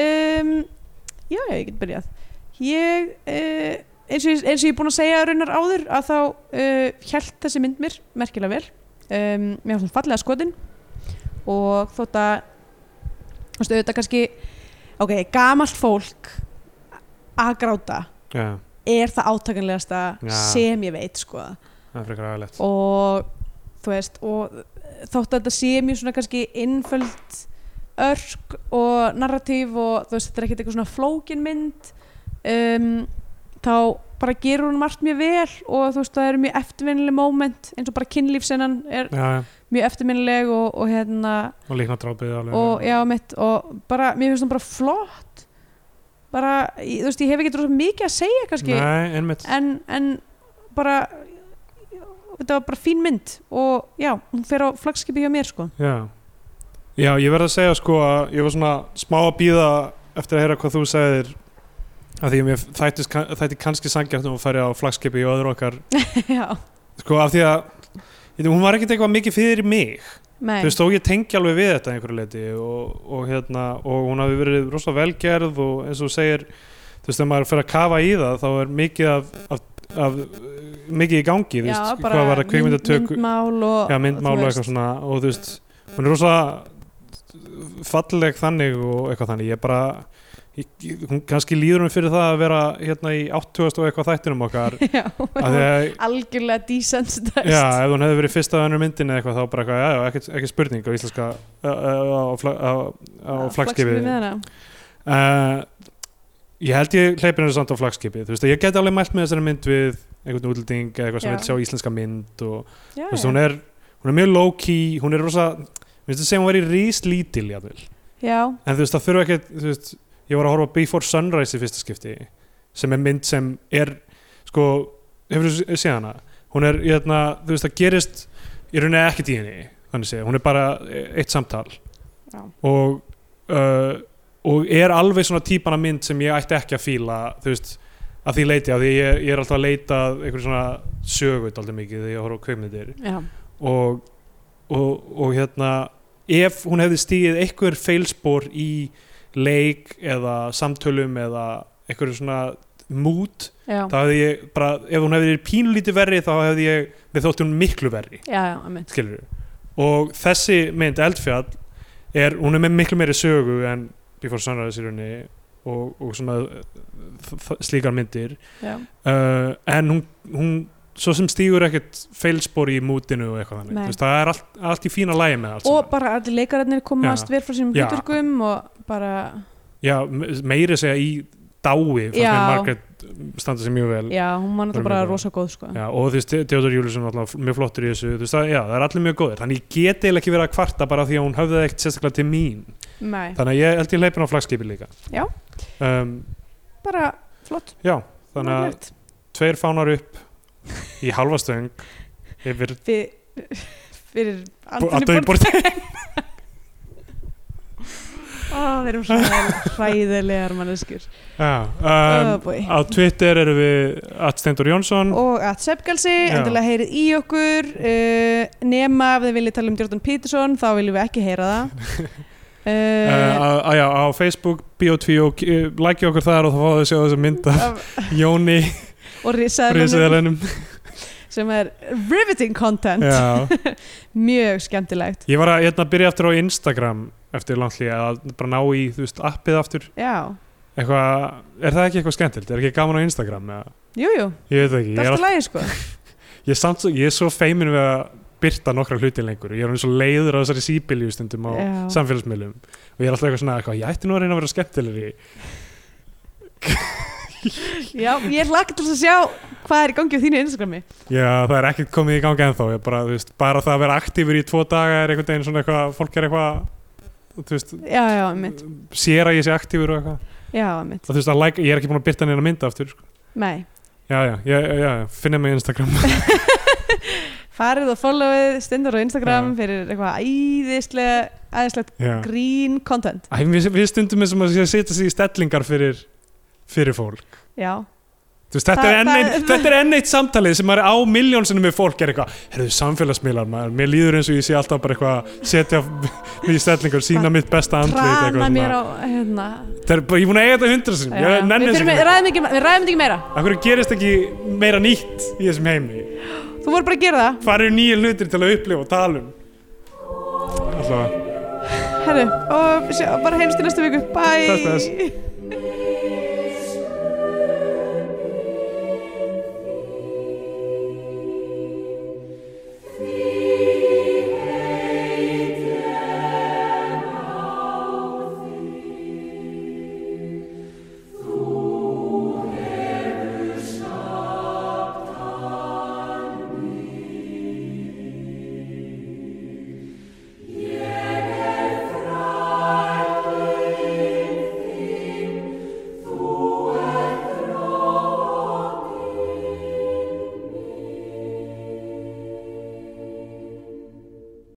um, já, já, ég get byrjað ég uh, eins, og ég, eins og ég er búin að segja raunar áður að þá uh, hjælt þessi mynd mér merkilega vel um, mér var svona fallega skotin og þótt að þú veist, auðvitað kannski ok, gamalt fólk að gráta
já,
er það átakanlegasta
Já.
sem ég veit sko
það er frekar aðalegt
og þú veist og þótt að þetta sé mjög svona kannski innföld örk og narratíf og þú veist þetta er ekkert eitthvað svona flókin mynd um, þá bara gerur hún margt mjög vel og þú veist það eru mjög eftirvinnileg moment eins og bara kynlífsinnan er
já, já,
mjög eftirvinnileg og, og hérna
og líknadrápið alveg
og já mitt og bara mér finnst hún bara flott bara ég- þú veist ég hef ekki rosa mikið að segja kannski
nei, einmitt
en, en bara þetta var bara fín mynd og já, hún fer á flagskipi hjá mér sko
Já. Já, ég verð að segja sko að ég var svona smá að býða eftir að heyra hvað þú segðir af því að mér þættis, þætti kannski sangjart um að færi á flagskipi og öðru okkar
*laughs* já,
sko af því að ég veit, hún var ekkert eitthvað mikið fyrir mig
nei,
þú veist og ég tengi alveg við þetta að einhverju leiti og, og hérna og hún hafi verið rosa velgerð og eins og þú segir þú veist þegar maður fer að kafa í það þá er mikið af, af, af mikið í gangi þú
já,
veist
bara
hvað var að kveikmyndatöku
myndmál og
já,
þú
myndmál og
veist,
eitthvað svona og þú veist, hún er rosa falleg þannig og eitthvað þannig ég bara ég, ég- hún kannski líður hún fyrir það að vera hérna í 80 og eitthvað þættinum okkar
*laughs* já,
að því að
algjörlega dísensdæst
Já, ef hún hefði verið fyrsta önnur myndin eða eitthvað þá bara eitthvað, já, já, ekkert ekki spurning á íslenska uh, uh, á, fla- á, á, á flagskipi
með hana
uh, Ég held ég hleypin henni samt á flagskipi þú veist, ég geti alveg mælt með þessari mynd við einhvern útlending eða eitthvað sem
Já.
vil sjá íslenska mynd og
já,
Þú veist, hún er, hún er mjög low key hún er rosa, við veist að segja hún væri ríslítil jafnvel,
já,
en þú veist það þurfa ekki þú veist, ég var að horfa á Before Sunrise í fyrsta skipti, sem er mynd sem er, sko hefur þú séð hana, hún er hérna, þú veist það gerist, í rauninni ekkert í henni þannig séð, hún er bara e, eitt samtal
já,
og uh, og er alveg svona típan af mynd sem ég ætti ekki að fíla þú veist, að því leiti, að því ég, ég er alltaf að leita að einhverju svona sögut alltaf mikið þegar ég horf á kveimyndir
já,
og, og, og hérna ef hún hefði stíð einhver feilspor í leik eða samtölum eða einhverju svona mút
já,
þá hefði ég bara, ef hún hefði verið pínlítið verri þá hefði ég, við þótti hún miklu verri
já, já, einmitt.
skilur og þessi mynd eldfjall er, hún er með miklu meiri sögu en Before Sunrise í rauninni og, og svona uh, þ- þ- slíkar myndir
já,
uh, en hún, hún svo sem stígur ekkert feilspor í mútinu og eitthvað þannig,
Nei.
Þú veist, það er allt, allt í fína lægi með allt
og
saman.
bara allir leikararnir komast
Já.
verð frá sínum
Já.
hluturkum og bara,
já, me- meiri segja í dái fannst
Já.
mér Margaret standa sér mjög vel
já, hún var
Bara
náttúrulega bara
mjög góð.
rosa góð sko
Já, og þú veist, Theodor Júliusson var alltaf mjög flottur í þessu, þú veist, það, já, það er allir mjög góðir þannig ég geti eiginlega ekki verið að kvarta bara af því að hún höfði ekkert sérstaklega til mín
nei,
þannig að ég held ég leipin á flagskipi líka
Já.
um,
bara flott,
já þannig að
magnlegt.
tveir fánar upp í halva stöng yfir
fyrir, fyrir Anthony
Anthony
Bourdain Ó, við erum svona hræðilegar manneskjur *laughs*
Já,
Ó,
um,
boy.
á Twitter eru við Atstendur Jónsson
og að Seppgalsi,
Já.
endilega heyrið í okkur uh, nema ef þið viljið tala um Jordan Peterson, þá viljum við ekki heyra
*laughs*
það
Uh,
uh,
að- að já, á Facebook, Bio2 og uh, like okkur þar og þá fáðu að sjá þessa mynd
*laughs*
af
af-
Jóni
og risaðlunum
Friðsæðalennum
sem er riveting content
ég
mjög skemmtilegt
var að hérna, byrja aftur á Instagram eftir langt hlýja að bara ná í þú veist, appið aftur
já,
eitthvað, er það ekki eitthvað skemmtilt? er ekki gaman á Instagram? Eða?
jújú,
ég veit það
það
ekki, ég
er
er,
alltaf lægi sko
all, ég, er samt, svo- ég er svo feimin við að byrta nokkra hluti lengur ég er hann svo leiður á þessari síbílíu stundum á
Já.
samfélagsmiðlum og ég er alltaf eitthvað svona eitthvað, ég ætti nú að reyna að vera skemmtilegri
já, ég hlakka til þess að sjá hvað er í gangi á þínu Instagrami
Já, það er ekkert komið í gangi ennþá ég bara, þú veist, bara það að vera aktífur í tvo daga er einhvern veginn svona eitthvað, fólk er eitthvað þú veist,
já, já, mitt,
sér að ég sé aktífur og eitthvað
já, mitt,
og þú veist, að like, ég er ekki búin að byrta neina mynda aftur sko.
nei
Já, já, já, já, já, finna mig á Instagram *laughs*
farið og followið, stendur á Instagram
Já.
fyrir eitthvað æðislega æðislegt
Já,
grín content
Æ, við, við stundum eins og maður sé að setja sig í stellingar fyrir, fyrir fólk
já,
Þú Veist, þetta,
Það-
er enn
það-
ein, þetta er enn eitt samtalið sem maður er á miljónsinu með fólk er eitthvað, herruðu samfélagsmiðlar maður, mér líður eins og ég sé alltaf bara eitthvað setja mig í stellingar, sína mitt besta andlið
trana mér á hérna
Það er bara, ég er búin að eiga þetta hundra sinn, ég
við,
nenni þessu
þurfum,
ekki.
við, ræðum ekki, við ræðum þetta ekki meira
Af hverju gerist ekki meira nýtt í þessum heimi?
þú voru bara að gera það,
Hvað eru nýja hlutir til að upplifa og tala um? Alltaf.
herru og sjá, bara heimst í næstu viku, bye
Bless, bless.